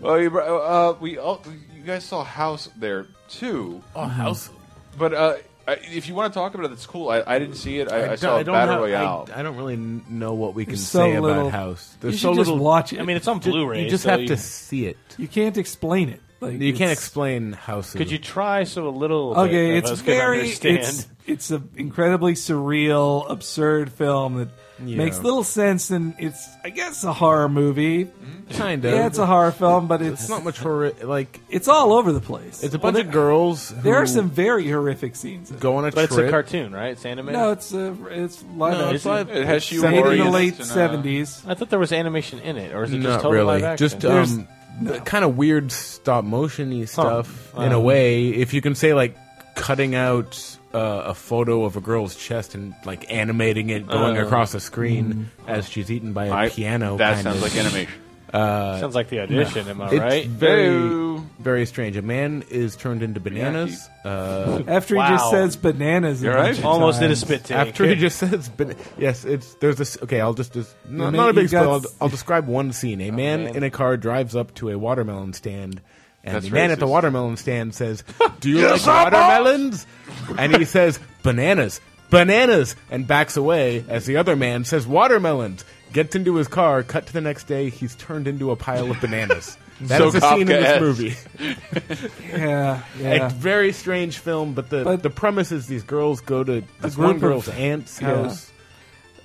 B: well, you, br- uh, we all, you guys saw House there too.
G: Oh, House.
B: But uh, I- if you want to talk about it, it's cool. I, I didn't see it. I, I, saw
G: don't
B: Battle
G: have-
B: Royale.
G: I, I don't really n- know what we can
E: There's so
G: say
E: little-
G: about House.
E: You
G: There's
E: should
G: so
E: just
G: little.
E: watch it. I mean,
I: it's on
G: Ju-
I: Blu-ray,
G: You just
I: so
G: have
I: you-
G: to see it.
E: You can't explain it. Like
G: you can't
E: it's-
G: explain House.
I: Could you try so a little?
E: Okay,
I: bit of
E: it's
I: us could
E: very
I: understand?
E: it's it's an incredibly surreal, absurd film that
I: Yeah.
E: makes little sense, and it's I guess a horror movie.
G: Kind of.
E: Yeah, it's a horror film, but it's,
G: not much horror. Like
E: it's all over the place.
G: It's a
E: Well,
G: bunch
E: there-
G: of girls.
E: There are
G: who
E: some very horrific scenes.
G: go on a
I: but
G: trip.
I: it's a cartoon, right? It's animated.
E: No, it's a, it's live
I: No,
E: action.
I: it's live- it
G: has
E: It's made in the
G: humorous
E: late
G: and, uh,
E: seventies.
I: I thought there was animation in it, or is it
G: not
I: just totally
G: really.
I: live action?
G: Just um, kind of weird stop motiony stuff
E: Uh,
G: in a
I: Um,
G: way. If you can say like cutting out uh, a photo of a girl's chest and like animating it going
I: Uh,
G: across the screen
E: mm-hmm.
G: as she's eaten by a
B: I-
G: piano.
B: that
G: kind
B: sounds
G: of.
B: like animation.
G: Uh,
I: Sounds like The Audition, am I
G: it's
I: right?
G: Very,
I: No.
G: very strange. A man is turned into bananas uh,
E: After he just says bananas, a
G: You're
E: bunch of times.
G: After he just says, "But yes, it's there's this." Okay, I'll just, just
E: You
G: not,
E: may-
G: not a big
E: you got-
G: spoil. I'll, I'll describe one scene.
B: Oh,
G: A man,
E: man.
G: in a car drives up to a watermelon stand, and
B: That's
G: the man at the
B: racist.
G: watermelon stand says, "Do you
B: Yes, I
G: like
B: must!"
G: watermelons?" and he says, "Bananas, bananas," and backs away as the other man says, "Watermelons." Gets into his car. Cut to the next day. He's turned into a pile of bananas. That
B: So
G: is the scene in this
B: Kafkaesque.
G: movie.
E: Yeah, yeah.
G: A very strange film, but the the premise is these girls go to this one girl's aunt's
E: yeah,
G: house.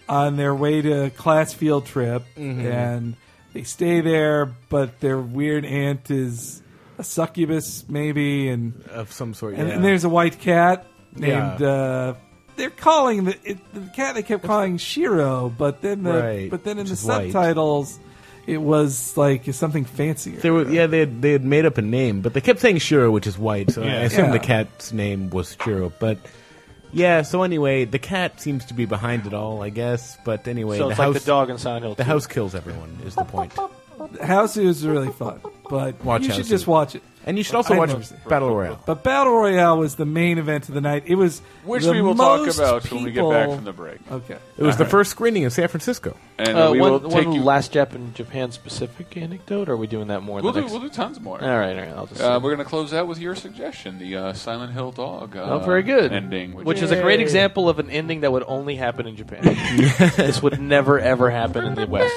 E: on their way to class field trip,
B: Mm-hmm.
G: Mhm.
E: and they stay there. But their weird aunt is a succubus, maybe, and
G: of some sort.
E: And,
G: yeah.
E: and there's a white cat
G: Yeah.
E: named. Uh, they're calling the, it, the cat. They kept calling Shiro, but then the
G: Right,
E: but then in
G: which
E: the
G: is white.
E: subtitles, it was like something fancier.
G: They were, yeah, they had, they had made up a name, but they kept saying Shiro, which is white. So
E: Yeah.
G: I assume
E: Yeah.
G: the cat's name was Shiro. But yeah, so anyway, the cat seems to be behind it all, I guess. But anyway,
I: So
G: the
I: it's like
G: house,
I: the dog in Silent Hill
G: The
I: 2.
G: house kills everyone is the point.
E: House is really fun, but
G: Watch
E: you should
G: House
E: just
G: is-
E: watch it.
G: And you should also
E: I
G: watch
E: know.
G: Battle Royale.
E: But Battle Royale was the main event of the night. It was
B: Which
E: the
B: we will talk
E: most
B: about when we get back
E: people-
B: from the break.
E: Okay,
G: It was
B: All
G: the
B: right.
G: first screening in San Francisco.
B: And
I: uh,
B: we
I: one,
B: will
I: one
B: take you.
I: last Japan Japan specific anecdote. Or are we doing that more? in
B: We'll
I: the
B: do,
I: next-
B: we'll do tons more.
I: All right, all right. I'll just.
B: Uh, we're going to close out with your suggestion, the uh, Silent Hill dog. Uh,
I: oh, very good.
B: Ending,
I: which is a great example of an ending that would only happen in Japan. this would never ever happen in the West.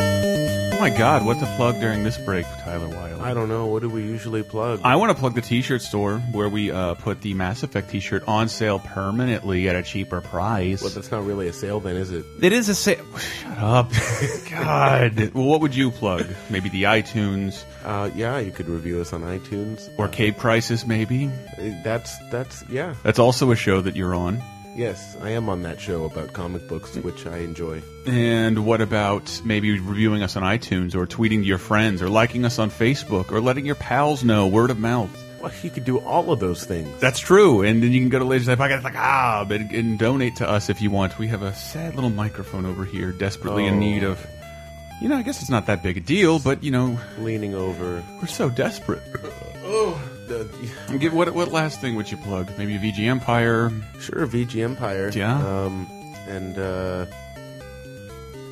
N: Oh my god, what to plug during this break, Tyler Wilde?
G: I don't know. What do we usually plug?
N: I want to plug the T-shirt store where we uh, put the Mass Effect T-shirt on sale permanently at a cheaper price.
G: Well, that's not really a sale, then, is it?
N: It is a sale. Shut up, God. Well, what would you plug? Maybe the iTunes.
G: Uh, yeah, you could review us on iTunes Uh,
N: or Cape Crisis, maybe.
G: That's that's yeah.
N: That's also a show that you're on.
G: Yes, I am on that show about comic books, which I enjoy.
N: And what about maybe reviewing us on iTunes or tweeting to your friends or liking us on Facebook or letting your pals know word of mouth?
G: Well, you could do all of those things.
N: That's true. And then you can go to Ladies Night Podcast like, ah, and, and donate to us if you want. We have a sad little microphone over here, desperately in
G: Oh.
N: need of. You know, I guess it's not that big a deal, but you know,
G: leaning over.
N: We're so desperate.
G: Oh,
N: And Give what what last thing would you plug? Maybe VG Empire.
G: Sure, VG Empire.
N: Yeah.
G: Um, and uh,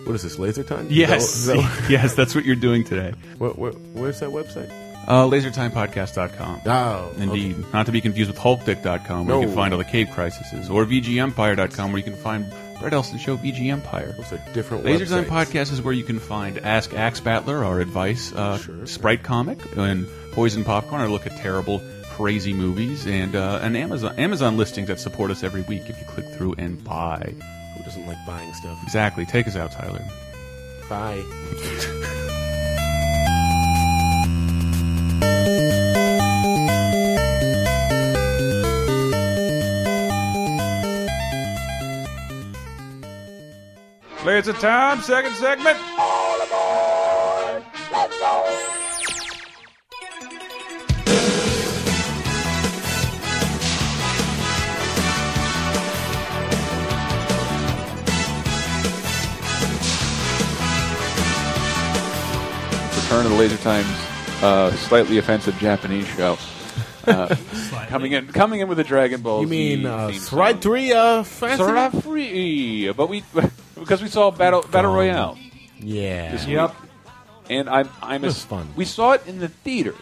G: what is this? Laser time?
N: Yes,
G: Is that- is that-
N: yes, that's what you're doing today.
G: what, what, where's that website?
N: Uh, LaserTimePodcast.com. Oh, indeed. Not to be confused with HulkDick.com, where you
G: No.
N: can find all the cave crises, or VGEmpire.com, where you can find Brett Elson Show VG Empire.
G: Those are different
N: Laser Time
G: websites.
N: Podcast is where you can find Ask Axe Battler, our advice, uh, Sprite Comic, and Poison Popcorn, our look at terrible, crazy movies, and uh, an Amazon Amazon listings that support us every week if you click through and buy.
G: Who doesn't like buying stuff?
N: Exactly. Take us out, Tyler.
G: Bye.
B: Laser Time, second segment. Return of the Laser Times, uh, slightly offensive Japanese show. Uh, coming in, coming in with a Dragon Ball.
G: You mean,
B: Z
G: uh,
B: theme
G: Strike Three, uh, fancy?
B: Sora free, but we because we saw Battle Battle Royale.
G: Yeah.
B: this
G: Yep.
B: week. And I'm I'm
G: It was
B: as-
G: fun.
B: We saw it in the theater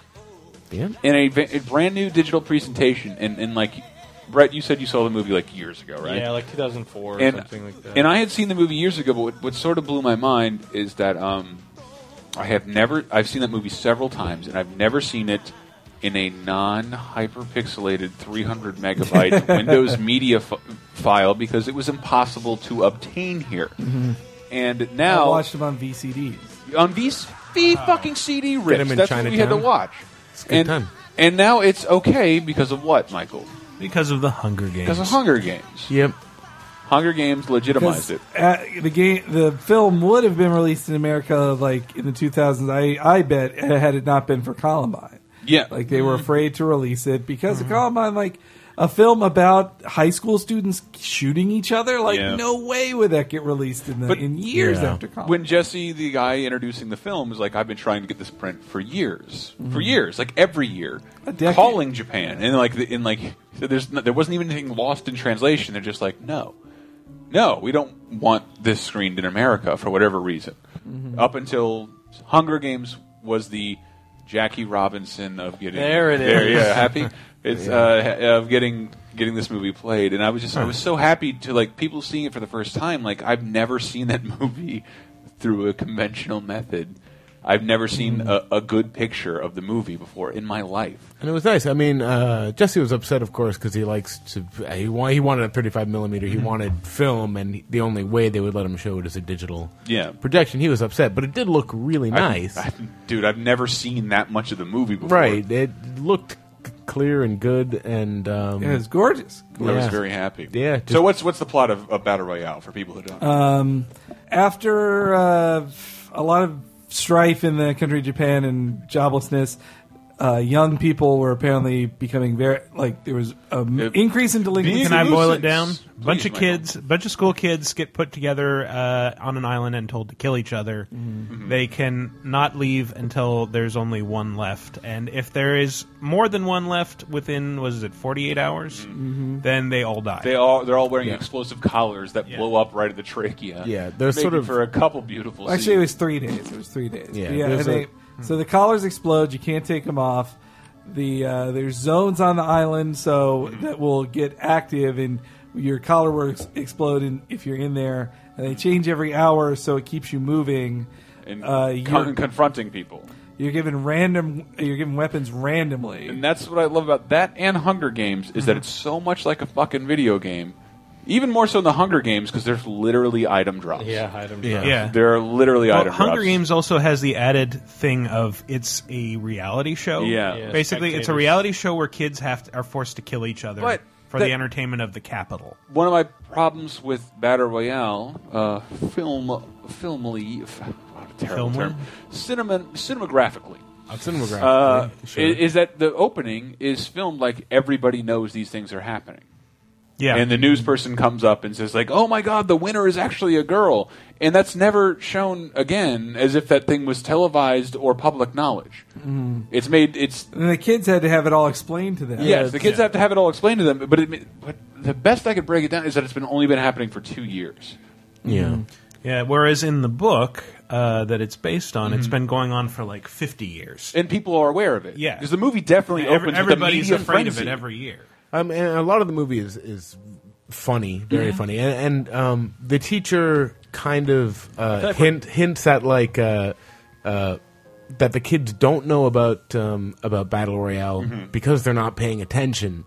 G: Yeah.
B: in a, va- a brand new digital presentation, and, and like Brett, you said you saw the movie like years ago, right?
I: Yeah, like 2004 or
B: and,
I: something like that.
B: And I had seen the movie years ago, but what, what sort of blew my mind is that um, I have never I've seen that movie several times, and I've never seen it in a non hyperpixelated 300 megabyte Windows media f- file because it was impossible to obtain here.
E: Mhm.
B: And
E: I
B: now
E: watched them on VCDs.
B: on these the fucking CD rips.
E: him in
B: That's what we had to
E: Chinatown.
B: watch.
E: It's a good
B: and,
E: time.
B: and now it's okay because of what, Michael?
K: Because of the Hunger Games.
B: Because of Hunger Games.
G: Yep.
B: Hunger Games legitimized it.
E: Uh, the game, the film would have been released in America like in the 2000s. I I bet uh, had it not been for Columbine.
B: Yeah.
E: like they were afraid to release it because of Columbine. Like a film about high school students shooting each other. Like
B: Yeah.
E: no way would that get released in the in years after Columbine.
B: When Jesse, the guy introducing the film, is like, I've been trying to get this print for years, for years, like every year, calling Japan, and like, the, and like, there's no, there wasn't even anything lost in translation. They're just like, no, no, we don't want this screened in America for whatever reason.
I: Mhm.
B: Up until Hunger Games was the Jackie Robinson of getting
I: There it
B: it is. there,
I: is.
B: Yeah, happy. It's
I: Yeah.
B: uh, ha- of getting getting this movie played, and I was just I was so happy to like people seeing it for the first time. Like I've never seen that movie through a conventional method. I've never seen
I: Mm-hmm.
B: a, a good picture of the movie before in my life.
G: And it was nice. I mean, uh, Jesse was upset, of course, because he likes to. uh, He, wa- he wanted a 35 millimeter.
B: Mm-hmm.
G: He wanted film, and the only way they would let him show it is a digital
B: Yeah.
G: projection. He was upset, but it did look really
B: I-
G: nice.
B: I- dude. I've never seen that much of the movie before.
G: right? It looked c- clear and good, and um,
E: Yeah, it was gorgeous.
B: I was
G: Yeah.
B: very happy.
G: Yeah.
B: so what's what's the plot of, of Battle Royale for people who don't?
K: Uh,
B: know?
E: Um, after uh, a lot of strife in the country of Japan and joblessness, uh, young people were apparently becoming very like there was an increase in delinquency.
K: Can I boil it down? A bunch of kids, bunch of school kids get put together uh, on an island and told to kill each other.
B: Mm-hmm.
K: They can not leave until there's only one left, and if there is more than one left within was it 48 hours,
B: Mm-hmm.
K: then they all die.
B: They all they're all wearing
K: Yeah.
B: explosive collars that blow up right at the trachea.
K: Yeah,
E: they're
B: Making
E: sort of-
B: for a couple beautiful.
E: Actually, it was three days. It was three days.
B: Yeah,
E: and
B: there's a-
E: they- so the collars explode. You can't take them off. The uh, there's zones on the island so that will get active, and your collar will ex- explode. And if you're in there, and they change every hour, so it keeps you moving.
B: and
E: uh,
B: con-
E: you're-
B: confronting people.
E: You're given random. You're given weapons randomly.
B: And that's what I love about that and Hunger Games is
E: Mm-hmm.
B: that it's so much like a fucking video game. Even more so in the Hunger Games because there's literally item drops.
I: Yeah, item
K: Yeah. drops. Yeah.
B: There are literally
K: Well,
B: item
K: Hunger
B: drops.
K: Games also has the added thing of it's a reality show.
B: Yeah. Yeah,
K: basically, it's a
B: spectators.
K: reality show where kids have to, are forced to kill each other
B: But
K: for
B: that-
K: the entertainment of the capital.
B: One of my problems with Battle Royale, uh, film, filmly, f- what a terrible
K: Filmly?
B: term, Cinema, cinemagraphically.
G: Cinemagraphically,
B: Uh,
G: sure.
B: i- Is that the opening is filmed like everybody knows these things are happening.
K: Yeah.
B: And the news person comes up and says like, "Oh my god, the winner is actually a girl." And that's never shown again as if that thing was televised or public knowledge.
K: Mm-hmm.
E: Mhm.
B: It's made it's
E: And the kids had to have it all explained to them.
B: Yes, the kids have to have it all explained to them, but it, but the best I could break it down is that it's been only been happening for 2 years.
G: Yeah.
K: Yeah, whereas in the book uh, that it's based on, it's
B: Mhm.
K: been going on for like 50 years.
B: and people are aware of it.
K: Yeah.
B: because the movie definitely
K: Yeah, every-
B: opens
K: everybody's
B: with a media
K: afraid of
B: frenzy.
K: it every year.
G: Um, and a lot of the movie is is funny, very
B: Mm-hmm.
K: Mhm.
G: funny, and, and um, the teacher kind of
K: I feel
G: uh,
K: like we're-
G: hint hints at like uh, uh, that the kids don't know about um, about battle royale
B: Mm-hmm.
K: Mhm.
G: because they're not paying attention.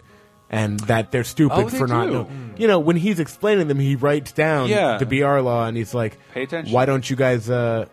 G: And that they're stupid
B: Oh, they
G: for not
B: do.
G: know- You know, when he's explaining them, he writes down
B: Yeah.
G: the BR law, and he's like,
B: Pay attention.
G: Why don't you guys? Uh,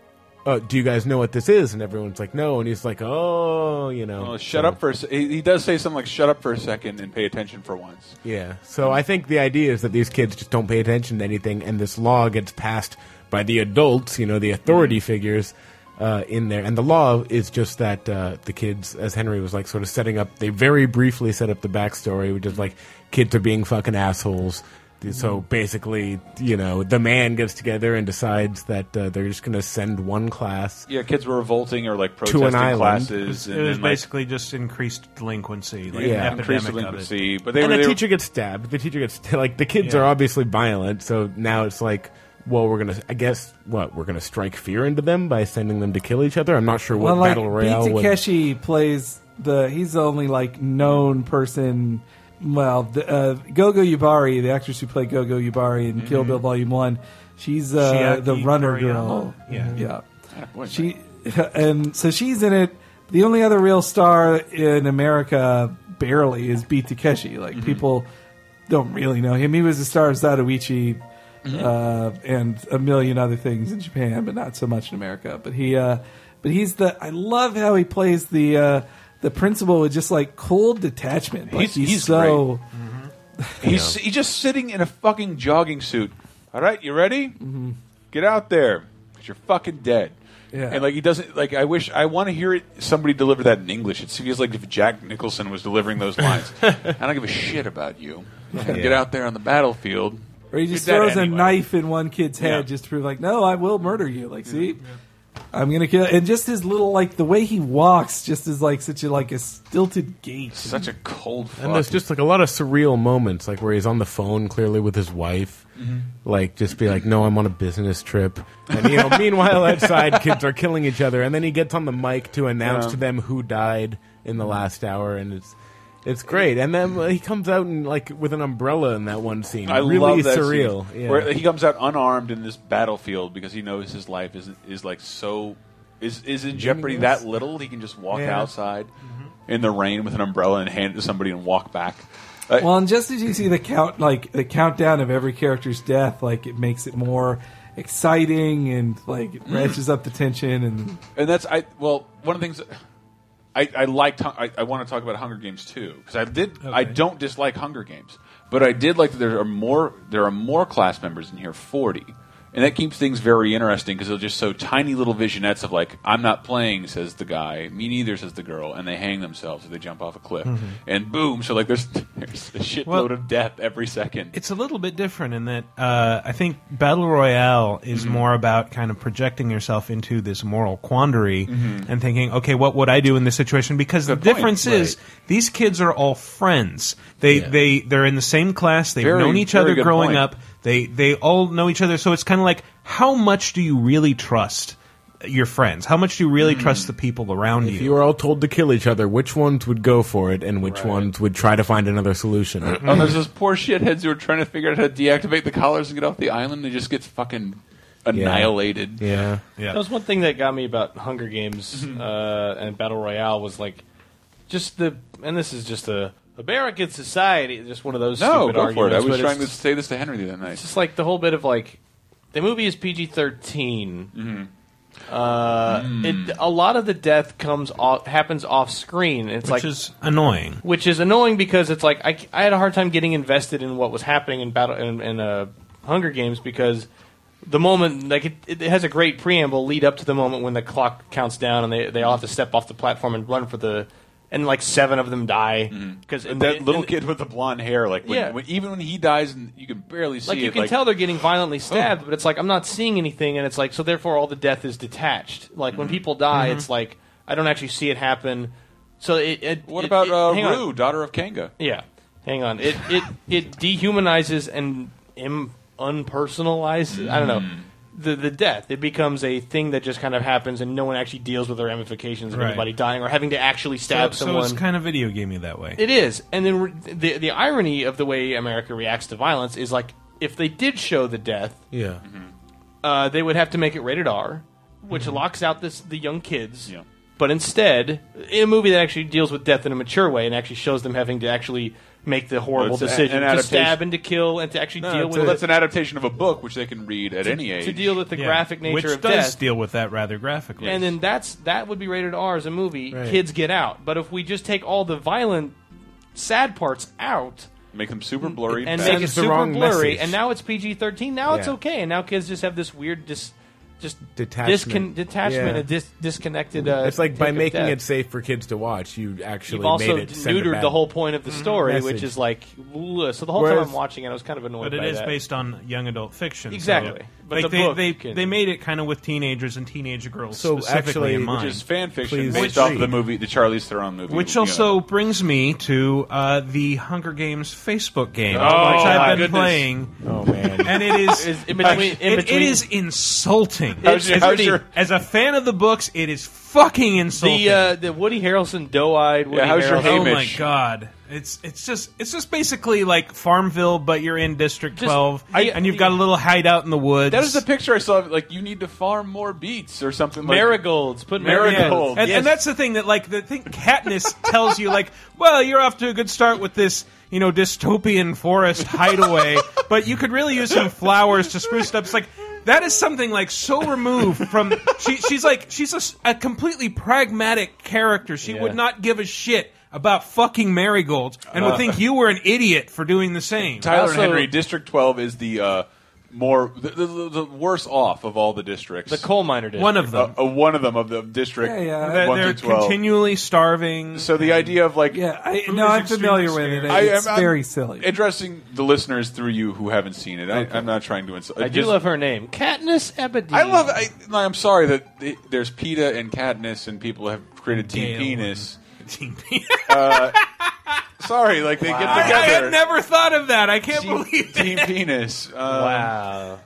G: uh, do you guys know what this is? And everyone's like, No. And he's like, Oh, you know.
B: Well, shut up for a se- he, he does say something like "shut up for a second and pay attention for once."
G: Yeah. So I think the idea is that these kids just don't pay attention to anything, and this law gets passed by the adults, you know, the authority figures uh, in there. And the law is just that uh, the kids, as Henry was like, sort of setting up. They very briefly set up the backstory, which is like kids are being fucking assholes. So basically, you know, the man gets together and decides that uh, they're just going to send one class.
B: Yeah, kids were revolting or like protesting
G: island.
B: classes.
K: It was,
B: and
K: it was
B: then, like,
K: basically just increased delinquency, like
G: Yeah.
K: an
B: Increased
K: epidemic
B: delinquency,
K: of it.
B: but they
G: and
B: were-
G: the
B: they were-
G: teacher gets stabbed. The teacher gets like the kids
K: Yeah.
G: are obviously violent, so now it's like, well, we're gonna, I guess, what we're gonna strike fear into them by sending them to kill each other. I'm not sure what
E: well, like
G: battle royale
E: Pete
G: would.
E: Takeshi plays the he's the only like known person. Well, the, uh, Gogo Yubari, the actress who played Gogo Yubari in Kill Bill Volume One, she's uh,
K: Shiaki
E: the runner
K: Kuriyama?
E: girl.
K: Yeah.
E: yeah.
K: Ah, boy,
E: she and so she's in it. The only other real star in America, barely, is Pete Takeshi. Like
B: Mm-hmm.
E: people don't really know him. He was the star of Zatoichi
B: Mm-hmm.
E: uh, and a million other things in Japan, but not so much in America. But he, uh, but he's the. I love how he plays the uh, the principal with just like cool detachment. Like
B: He's-
E: he's,
B: he's
E: so.
B: He's, he's just sitting in a fucking jogging suit. All right, you ready?
G: Mm-hmm.
B: Get out there, you you're fucking dead.
E: Yeah.
B: And like he doesn't like. I wish I want to hear it. Somebody deliver that in English. It feels like if Jack Nicholson was delivering those lines. I don't give a shit about you. Get out there on the battlefield.
E: Or he just
B: You're dead
E: throws a
B: anyway.
E: knife in one kid's head
B: Yeah.
E: just to prove, like, no, I will murder you. Like, see, I'm gonna kill. And just his little, like, the way he walks, just is like such a like a stilted gait.
B: Such a cold. Fuck.
G: and there's just like a lot of surreal moments, like where he's on the phone clearly with his wife,
B: Mhm.
G: like just be like, "No, I'm on a business trip," and you know, meanwhile outside kids are killing each other, and then he gets on the mic to announce
B: Yeah.
G: to them who died in the last hour, and it's it's great. And then uh, he comes out and like with an umbrella in that one scene,
B: I
G: really
B: love that
G: surreal.
B: scene.
G: Yeah.
B: Where he comes out unarmed in this battlefield because he knows his life is is like so is is in jeopardy
G: Meaningless.
B: that little he can just walk
E: Yeah.
B: outside in the rain with an umbrella and hand it to somebody and walk back. Uh,
E: well, and just as you see the count, like the countdown of every character's death, like it makes it more exciting and like it ratchets up the tension. And
B: and that's I well one of the things I I liked Hun- I, I want to talk about Hunger Games too because I did I don't dislike Hunger Games but I did like that there are more there are more class members in here forty and that keeps things very interesting because they're just so tiny little visionettes of like I'm not playing says the guy me neither says the girl and they hang themselves or they jump off a cliff
K: Mhm.
B: and boom so like there's there's a shitload
K: Well-
B: of death every second
K: It's a little bit different in that uh, I think battle royale is
G: Mm-hmm.
K: more about kind of projecting yourself into this moral quandary
G: Mhm.
K: and thinking, okay, what would I do in this situation? Because the
G: point,
K: difference is these kids are all friends. They they they're in the same class. They've
G: Very-
K: known each
G: very
K: other
G: good
K: growing
G: point.
K: up. They they all know each other. So it's kind of like, how much do you really trust your friends? How much do you
G: Mm-hmm.
K: really trust the people around you?
G: if you were all told to kill each other, which ones would go for it, and which ones would try to find another solution?
B: Oh, there's those poor shitheads who are trying to figure out how to deactivate the collars and get off the island. They just get fucking annihilated.
G: Yeah.
I: That was one thing that got me about Hunger Games
B: Mm-hmm.
I: uh, and Battle Royale was like just the and this is just a American society. Just one of those
B: No,
I: stupid
B: go for it.
I: arguments.
B: I was
I: but
B: trying to
I: it's,
B: say this to Henry that night.
I: it's just like the whole bit of like the movie is PG 13
B: Mm-hmm.
I: Uh,
B: Mm.
I: it, a lot of the death comes off, happens off screen. It's
K: Which
I: like
K: is annoying.
I: which is annoying because it's like I, I had a hard time getting invested in what was happening in battle in, in uh, Hunger Games because the moment like it, it has a great preamble lead up to the moment when the clock counts down and they they all have to step off the platform and run for the and like seven of them die because
B: Mm-hmm. that little kid with the blonde hair, like when,
I: Yeah.
B: when- even when he dies, and you can barely see
I: like you
B: it,
I: can
B: like, Oh.
I: tell they're getting violently stabbed, but it's like I'm not seeing anything, and it's like so therefore all the death is detached. Like when people die,
B: Mhm.
I: it's like I don't actually see it happen. So it. it
B: What
I: it-
B: about
I: it-
B: uh,
I: hang on.
B: Rue, daughter of Kanga?
I: Yeah, hang on. It
K: Mm.
I: it it dehumanizes and Im- unpersonalizes. I don't know. the the death. It becomes a thing that just kind of happens, and no one actually deals with the ramifications of
K: Right.
I: anybody dying or having to actually stab
K: so,
I: someone.
K: So it's kind of video gamey that way.
I: It is, and then re- the the irony of the way America reacts to violence is like if they did show the death,
K: Yeah.
I: uh, they would have to make it rated R, which locks out this the young kids.
B: Yeah.
I: But instead, in a movie that actually deals with death in a mature way and actually shows them having to actually make the horrible
B: It's a-
I: decision
B: an
I: to
B: adaptation-
I: stab and to kill and to actually
B: No,
I: deal
B: it's
I: with
B: a-
I: it.
B: that's an adaptation of a book which they can read at
I: To-
B: any
I: to
B: age
I: deal with the Yeah. graphic nature
K: Which
I: of
K: does
I: death.
K: deal with that rather graphically.
I: And then that's that would be rated R as a movie.
K: Right.
I: Kids get out. But if we just take all the violent, sad parts out
B: make them super blurry
I: and
B: fast.
I: make it
B: Sends the
I: super
B: wrong
I: blurry,
B: message.
I: and now it's PG thirteen. Now it's
B: Yeah.
I: okay, and now kids just have this weird dis, just
G: Detachment.
I: discon- detachment,
G: Yeah.
I: a dis- disconnected. Uh,
G: it's like by
I: take of
G: making
I: death.
G: it safe for kids to watch, you actually
I: You've also
G: made it send it
I: neutered
G: back.
I: the whole point of the
K: Mm-hmm.
G: Mhm.
I: story,
G: Message.
I: which is like ugh. so the whole
G: Whereas-
I: time I'm watching it, I was kind of annoyed.
K: But it
I: by
K: is
I: that.
K: based on young adult fiction. so-
I: Exactly. But
K: like
I: the
K: they,
I: book
K: they,
I: can-
K: they made it kind of with teenagers and teenage girls
B: So
K: specifically
B: actually-
K: in
B: Which
K: mind.
B: is fan fiction Please based off read. the movie- the Charlize Theron movie,
K: Which
B: you know.
K: also brings me to uh, the Hunger Games Facebook game,
B: Oh, my
K: which I've been
B: goodness.
K: playing.
B: Oh, man.
K: And it is,
B: Is in between-
K: it-
B: in
K: it
B: between-
K: is insulting.
I: How's your-
K: As-
I: how's your-
K: as a fan of the books, it is fucking insulting.
I: the uh, the Woody Harrelson doe eyed. Woody Harrelson.
K: Oh my god! It's it's just it's just basically like Farmville, but you're in District
B: Just-
K: 12,
B: I-
K: and you've got a little hideout in the woods.
B: That was the picture I saw. Of, like you need to farm more beets or something. Like,
I: Marigolds, put
B: marigolds.
K: And, and that's the thing that like the thing Katniss tells you like, well, you're off to a good start with this you know dystopian forest hideaway, but you could really use some flowers to spruce it up. It's like. That is something like so removed from. She, she's like she's a s- a, completely pragmatic character. She would not give a shit about fucking marigolds, and would
B: Uh.
K: think you were an idiot for doing the same.
B: Tyler and Henry District Twelve is the uh, more the, the, the the worse off of all the districts. The
I: coal miner
K: district. One of them.
B: Uh, uh, one of them of the district.
K: Yeah, yeah. They're-
B: Uh, One
K: they're
B: through 12.
K: continually starving.
B: So the idea of like yeah,
E: I- no, I'm familiar with it. It's very silly.
B: Addressing the listeners through you who haven't seen it. I, I'm not trying to insult.
I: I do
B: just-
I: love her name, Katniss Everdeen.
B: I love. I, no, I'm sorry that the, there's PETA and Katniss, and people have created Team
K: Gale
B: Penis.
K: Team Penis.
B: uh, sorry, like they
K: I, I
B: get together.
K: had never thought of that. I can't believe it.
B: Team Penis. Um,
I: wow.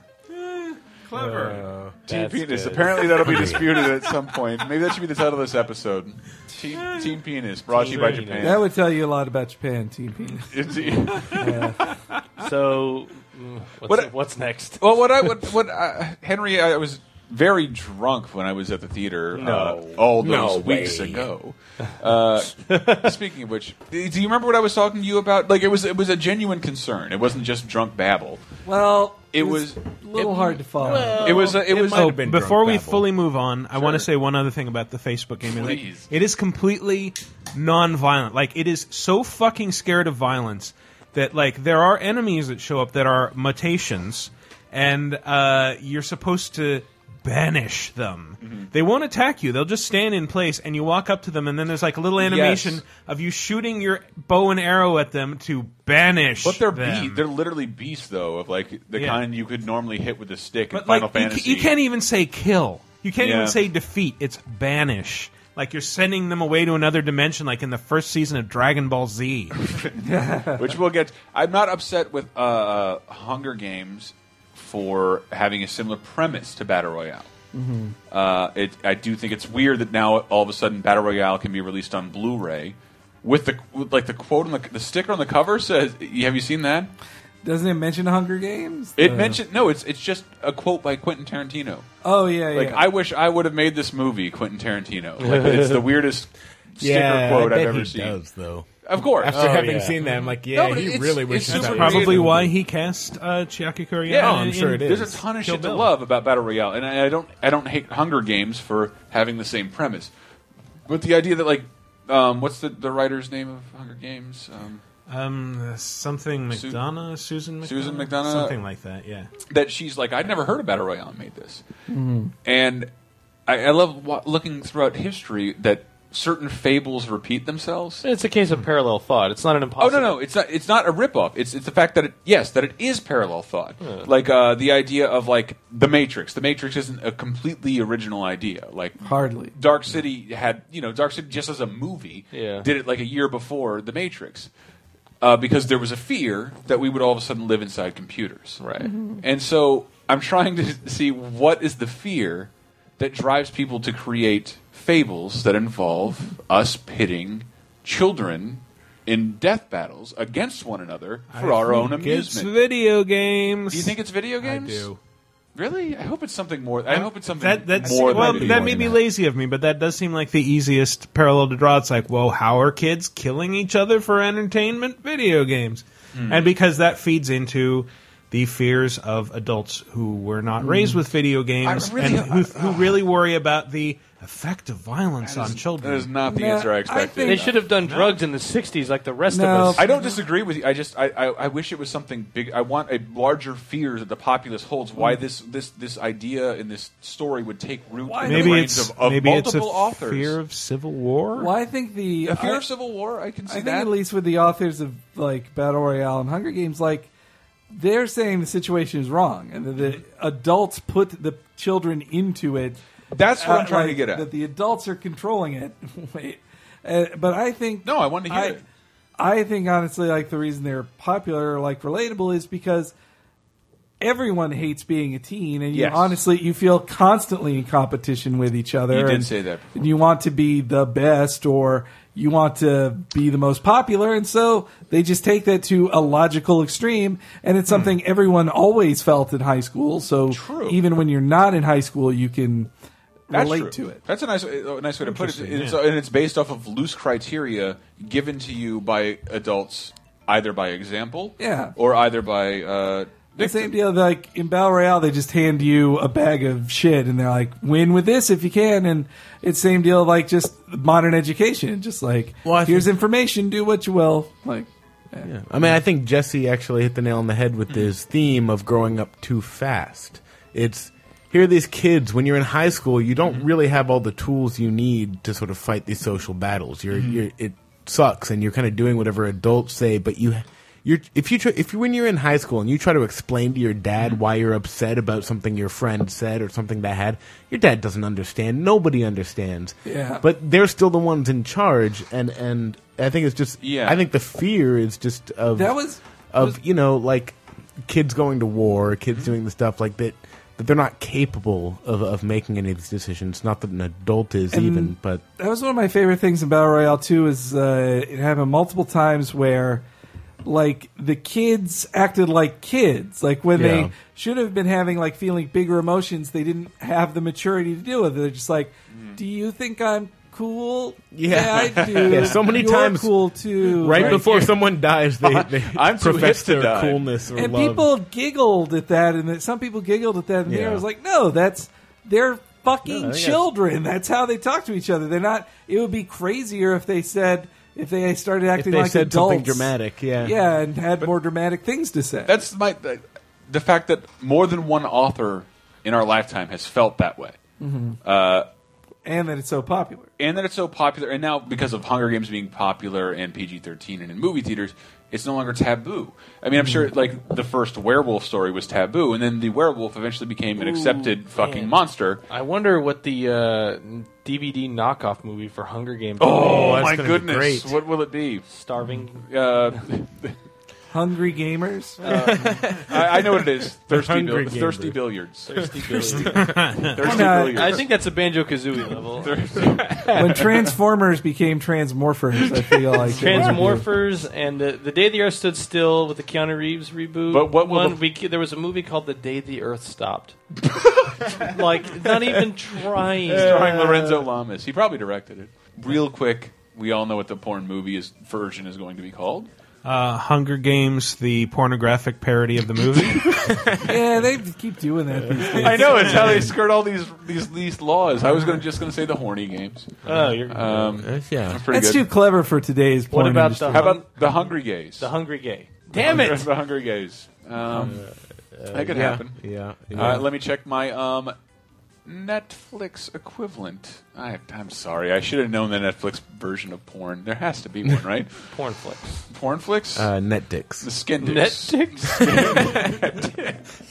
K: Clever.
B: Team
K: That's
B: Penis.
K: good.
B: Apparently, that'll be disputed at some point. Maybe that should be the title of this episode. Team, Team Penis, brought to you by Japan.
E: That would tell you a lot about Japan, Team Penis.
B: It's-
E: Yeah.
I: So, mm, what's,
B: What-
I: what's next?
B: Well, what I what what I, Henry, I was very drunk when I was at the theater uh,
I: No.
B: all those
I: No
B: weeks
I: way.
B: ago. Uh, speaking of which, do you remember what I was talking to you about? Like it was it was a genuine concern. It wasn't just drunk babble.
E: Well,
B: It was-
E: a little hard to follow.
B: it was it, was
K: Oh, before we fully move on, I want to say one other thing about the Facebook game. Like,
B: Please.
K: it is completely non-violent. Like it is so fucking scared of violence that like there are enemies that show up that are mutations, and uh, you're supposed to banish them.
B: Mm-hmm.
K: They won't attack you. They'll just stand in place, and you walk up to them, and then there's like a little animation
B: Yes.
K: of you shooting your bow and arrow at them to banish.
B: But they're
K: them.
B: be- they're literally beasts though of like the
K: Yeah.
B: kind you could normally hit with a stick in
K: But
B: Final
K: like, you ca-
B: Fantasy.
K: You, can't even say kill. You can't
B: Yeah.
K: even say defeat. It's banish. Like you're sending them away to another dimension, like in the first season of Dragon Ball Z.
B: which we'll get. I'm not upset with uh, Hunger Games for having a similar premise to Battle Royale.
G: Mm-hmm.
O: Mhm.
B: Uh, it, I do think it's weird that now all of a sudden Battle Royale can be released on Blu-ray with the with, like the quote on the the sticker on the cover says. Have you seen that?
E: Doesn't it mention Hunger Games?
B: It
G: Uh.
E: The-
B: mentioned no. It's it's just a quote by Quentin Tarantino.
E: Oh yeah,
B: Like
E: yeah.
B: I wish I would have made this movie, Quentin Tarantino. Like, it's the weirdest sticker
G: Yeah, I
B: quote
G: bet
B: I've ever
G: he
B: seen.
G: does, though.
B: Of course.
G: After Oh, having yeah. seen that, I'm like, yeah,
B: but
G: he
B: it's-
G: really
B: it's
G: wishes
B: super
K: That's
B: weird.
K: probably why he cast uh, Chiaki Kuriyama.
B: Yeah,
K: in- in
B: There's a ton of
K: Kill
B: shit
K: Bill.
B: to love about battle royale, and I, I don't, I don't hate Hunger Games for having the same premise, but the idea that like, um, what's the the writer's name of Hunger Games? Um,
K: Um, something
B: Su-
K: McDonough, Susan McDonough,
B: Susan McDonough,
K: something like that. Yeah.
B: That she's like, I'd never heard of battle royale and made this,
K: Mhm.
B: and I, I love wa- looking throughout history that certain fables repeat themselves.
I: It's a case of parallel thought. It's not an impossible.
B: Oh no, no, it's not. It's not a ripoff. It's it's the fact that it yes that it is parallel thought. Like uh, the idea of like the Matrix. The Matrix isn't a completely original idea. Like
E: Hardly.
B: Dark City had you know Dark City just as a movie
I: Yeah.
B: did it like a year before the Matrix. Uh, because there was a fear that we would all of a sudden live inside computers, right?
I: Mhm.
B: And so I'm trying to see what is the fear that drives people to create fables that involve us pitting children in death battles against one another for our own
K: It's
B: amusement.
K: video games.
B: Do you think it's video games?
K: do.
B: Really? I hope it's something more. I hope it's something
K: That that's
B: more
K: well,
B: than
K: that may be lazy of me, but that does seem like the easiest parallel to draw. It's like, whoa, how are kids killing each other for entertainment? Video games,
B: Mm.
G: Hmm.
K: and because that feeds into the fears of adults who were not raised with video games
B: Mm. really-
K: and who, who really worry about the effect of violence on children.
B: That is not the answer I expected.
I: They should have done drugs in the '60s, like the rest of us.
B: I don't disagree with you. I just I, I, I wish it was something big. I want a larger fear that the populace holds. Why
E: Hmm.
B: this this this idea in this story would take root in the
K: Maybe
B: brains
K: it's
B: of, of
K: maybe it's a
B: multiple authors.
K: fear of civil war.
E: Well, I think the
B: A fear
E: I-
B: of civil war. I can
E: I
B: see
E: think
B: that.
E: at least with the authors of like Battle Royale and Hunger Games, like they're saying the situation is wrong and that the adults put the children into it. uh,
B: That's what I'm trying to
E: like,
B: get at.
E: That the adults are controlling it. Wait. Uh, but I think
B: no, I wanted to hear
E: I,
B: it.
E: I think honestly, like the reason they're popular, or, like relatable, is because everyone hates being a teen, and you
B: Yes.
E: honestly you feel constantly in competition with each other.
B: You did
E: and-
B: say that before.
E: and you want to be the best or you want to be the most popular and so they just take that to a logical extreme and
B: Hmm.
E: it's something everyone always felt in high school so even when you're not in high school you can
B: That's
E: relate
B: true.
E: to it
B: That's a nice, a nice way to put it.
E: Interesting,
B: It's-
E: yeah.
B: And it's based off of loose criteria given to you by adults, either by example,
E: Yeah.
B: or either by uh,
E: the same deal like in battle royale they just hand you a bag of shit and they're like win with this if you can and it's same deal like just modern education just like here's information do what you will like
G: Yeah. I mean, I think Jesse actually hit the nail on the head with this theme of growing up too fast. It's here are these kids when you're in high school, you don't really have all the tools you need to sort of fight these social battles. You're,
O: Mhm.
G: you're it sucks, and you're kind of doing whatever adults say, but you. You're, if you try, if you, when you're in high school and you try to explain to your dad why you're upset about something your friend said or something that had your dad doesn't understand nobody understands
O: Yeah.
G: but they're still the ones in charge and and I think it's just
O: Yeah.
G: I think the fear is just of
O: That was-
G: of you know like kids going to war, kids doing the stuff like that that they're not capable of, of making any of these decisions. Not that an adult is
E: And-
G: even, but
E: that was one of my favorite things in Battle Royale 2 is uh, it happened multiple times where like the kids acted like kids like when
G: Yeah.
E: they should have been having like feeling bigger emotions they didn't have the maturity to deal with it they're just like do you think i'm cool
G: Mm. Yeah.
E: i do
G: Yeah, so many
E: You're
G: times-
E: cool too
G: right,
E: Like-
G: before someone dies, they, they
B: I'm too
G: profess
B: hip to
G: their
B: die.
G: coolness or
E: and
G: love.
E: people giggled at that and that some people giggled at that and
G: Yeah.
E: i was like no that's they're fucking
G: No, I think
E: children that's how they talk to each other they're not it would be crazier if they said if they started acting
G: they
E: like
G: said
E: adults.
G: something dramatic, yeah.
E: yeah and had more dramatic things to say
B: That's my the, the fact that more than one author in our lifetime has felt that way,
E: Mhm.
B: uh,
E: and that it's so popular
B: and that it's so popular. And now because of Hunger Games being popular and PG thirteen and in movie theaters, it's no longer taboo. I mean, I'm sure like the first werewolf story was taboo, and then the werewolf eventually became an
I: Ooh,
B: accepted fucking
I: man.
B: monster.
I: I wonder what the uh, DVD knockoff movie for Hunger Games.
B: Oh,
I: will be.
B: my goodness! What will it be?
I: Starving.
B: Uh,
E: hungry gamers
B: Um, I, I know what it is.
I: The
B: Thirsty,
I: Hungry
B: bill- thirsty
I: Gamer.
B: billiards.
I: Thirsty
B: Thirsty
I: billiards.
B: Thirsty
I: Now-
B: billiards.
I: I think that's a Banjo Kazooie level.
E: when transformers became transmorphers i feel like it would be-
I: Transmorphers and the, the Day the Earth Stood Still with the Keanu Reeves reboot.
B: But what will
I: one
B: the-
I: we, there was a movie called The Day the Earth Stopped. like not even trying.
B: Starring
I: uh,
B: Lorenzo Lamas. He probably directed it. Real quick, we all know what the porn movie is version is going to be called.
K: Uh, Hunger Games, the pornographic parody of the movie.
E: yeah they keep doing that these days.
B: I know it's how they skirt all these these these laws. I was gonna, just going to say the horny games.
I: Oh, you're-
G: yeah.
B: That's Um, pretty
E: that's
B: good.
E: too clever for today's
I: What
E: porn
I: about
E: industry.
I: the
B: How about the hungry gays?
I: The Hungry Gay.
B: The
I: Damn
B: hungry-
I: it!
B: the hungry gays. Um,
G: uh,
B: that could
G: yeah,
B: happen.
G: yeah,
B: Uh,
G: yeah.
B: let me check my um, Netflix equivalent. I, I'm sorry. I should have known the Netflix version of porn. There has to be one, right?
I: porn flicks.
B: Porn flicks.
G: uh, net dicks.
B: The skin dicks.
I: Netflix.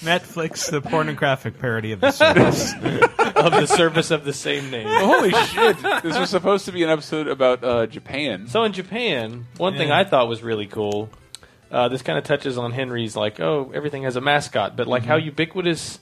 K: Netflix, the pornographic parody of the service.
I: of the service of the same name.
B: Holy shit! This was supposed to be an episode about uh, Japan.
I: So in Japan, one thing
B: Yeah.
I: I thought was really
B: Mm-hmm.
I: cool. Uh, this kind of touches on Henry's like, oh, everything has a mascot, but like how ubiquitous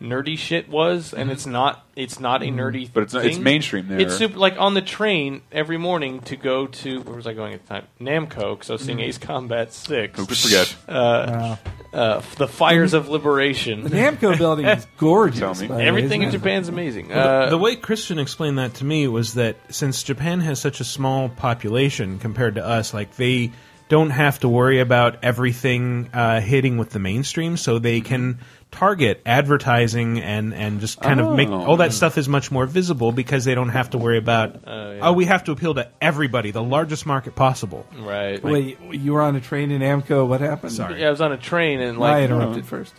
I: nerdy shit was, and it's not it's not a nerdy.
B: Mm-hmm. But it's not-
I: thing.
B: it's mainstream there.
I: It's super like on the train every morning to go to where was I going at the time? Namco, because I was seeing
B: Mhm.
I: Ace Combat Six.
B: Who could forget?
I: Uh, uh, the Fires
B: Mm-hmm.
I: of Liberation.
K: The Namco building is gorgeous, Tell me. by the way,
I: Everything in
K: isn't it?
I: Japan's amazing.
K: Well,
I: Uh,
K: the, the way Christian explained that to me was that since Japan has such a small population compared to us, like they don't have to worry about everything uh, hitting with the mainstream, so they can target advertising and and just kind
B: Oh.
K: of make all that stuff is much more visible because they don't have to worry about oh, we have to appeal to everybody, the largest market possible.
I: Right.
E: Wait, you were on a train in Amco. What happened?
I: Yeah, I was on a train and
E: I
I: like um,
E: interrupted first.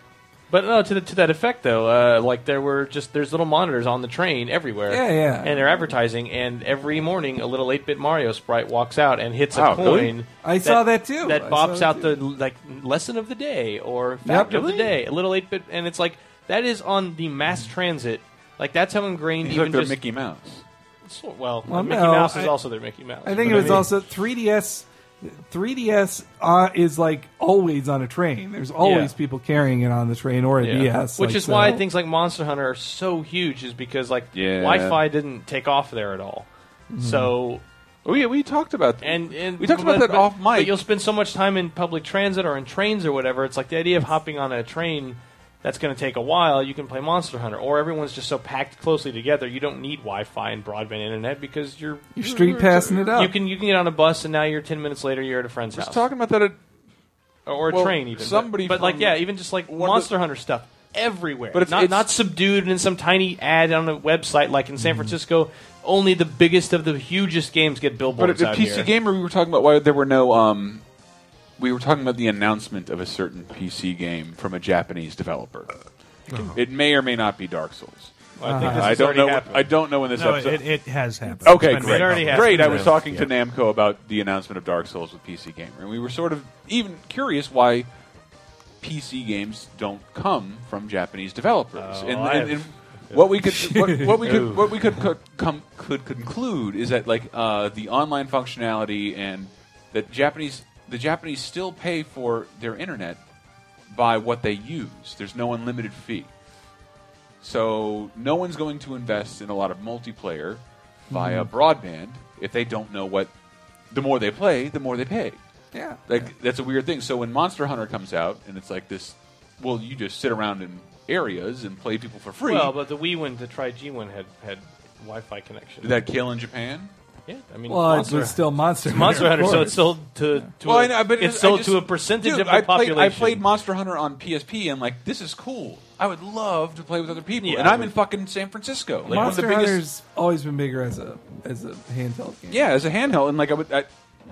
I: But no, to the, to that effect though, uh, like there were just there's little monitors on the train everywhere.
E: Yeah, yeah.
I: And they're advertising, and every morning a little 8-bit Mario sprite walks out and hits
E: Wow,
I: a coin.
E: really? I saw that, too.
I: That
E: I
I: bops
E: saw
I: out the like lesson of the day or fact
E: Yep.
I: of the day. A little 8-bit, and it's like that is on the mass transit. Like that's how ingrained
B: He's
I: even
B: like their
I: just
B: Mickey Mouse.
I: So- well,
E: Well,
I: Mickey
E: no,
I: Mouse is
E: I-
I: also their Mickey Mouse.
E: I think
I: but
E: it was
I: mean-
E: also 3DS. 3DS uh, is like always on a train. There's always
I: Yeah.
E: people carrying it on the train or a
I: Yeah.
E: DS,
I: which
E: like,
I: is
E: so-
I: why things like Monster Hunter are so huge, is because like
B: Yeah.
I: Wi-Fi didn't take off there at all.
E: Mm-hmm.
B: Mhm.
I: So,
B: oh yeah, we talked about
I: and, and
B: We talked about that off mic.
I: But you'll spend so much time in public transit or in trains or whatever. It's like the idea of hopping on a train that's going to take a while. You can play Monster Hunter, or everyone's just so packed closely together. You don't need Wi-Fi and broadband internet because you're
E: You're street passing it up.
I: You can you can get on a bus and now you're ten minutes later you're at a friend's house.
B: talking about that at,
I: or a
B: well,
I: train even. but-
B: somebody
I: but, like
B: from-
I: yeah, even just like Monster Hunter stuff everywhere.
B: But it's-
I: not
B: it's-
I: not subdued in some tiny ad on a website like in San Francisco. Only the biggest of the hugest games get
B: Mm-hmm. But at
I: billboards
B: the
I: out
B: PC
I: here.
B: Gamer, we were talking about why there were no. Um, we were talking about the announcement of a certain PC game from a Japanese developer.
K: Oh.
B: It may or may not be Dark Souls.
K: Well, I think this
B: Uh-huh. I
K: has
B: don't
K: already
B: know.
K: happened.
B: I don't know when this
K: No,
B: episode.
K: it- it has happened. It's
B: Okay, great.
K: been made public. It already
B: great. I
K: happened.
B: was talking to
K: Yeah.
B: Namco about the announcement of Dark Souls with PC Gamer, and we were sort of even curious why PC games don't come from Japanese developers.
N: Oh,
B: and,
N: I
B: and-
N: have-
B: and what we could what, what we
N: Ooh.
B: could what we could co- come could conclude is that like uh, the online functionality and that Japanese the Japanese still pay for their internet by what they use. There's no unlimited fee. So no one's going to invest in a lot of multiplayer via
I: Mm-hmm.
N: Mhm.
B: broadband if they don't know what the more they play, the more they pay.
E: Yeah.
B: Like that's a weird thing. So when Monster Hunter comes out and it's like this well, you just sit around in areas and play people for free.
I: Well, but the Wii one, the Tri G one had had Wi-Fi connection.
B: Did that kill in Japan?
I: Yeah, I mean,
E: Well, it
I: Monster-
E: was still Monster
I: It's Monster
E: Hunter,
I: Hunter,
E: of
I: so
E: course.
I: it's sold to, to
B: well,
I: a,
B: I know, but
I: it's
B: I
I: sold
B: just-
I: to a percentage
B: Dude,
I: of the
B: I played,
I: population.
B: I played Monster Hunter on PSP, and like, this is cool. I would love to play with other people,
E: Yeah,
B: and
E: I
B: I'm in fucking San Francisco. Like, one of the
E: Monster
B: biggest,
E: Hunter's always been bigger as a as a handheld game.
B: yeah, as a handheld, and like, I would, I,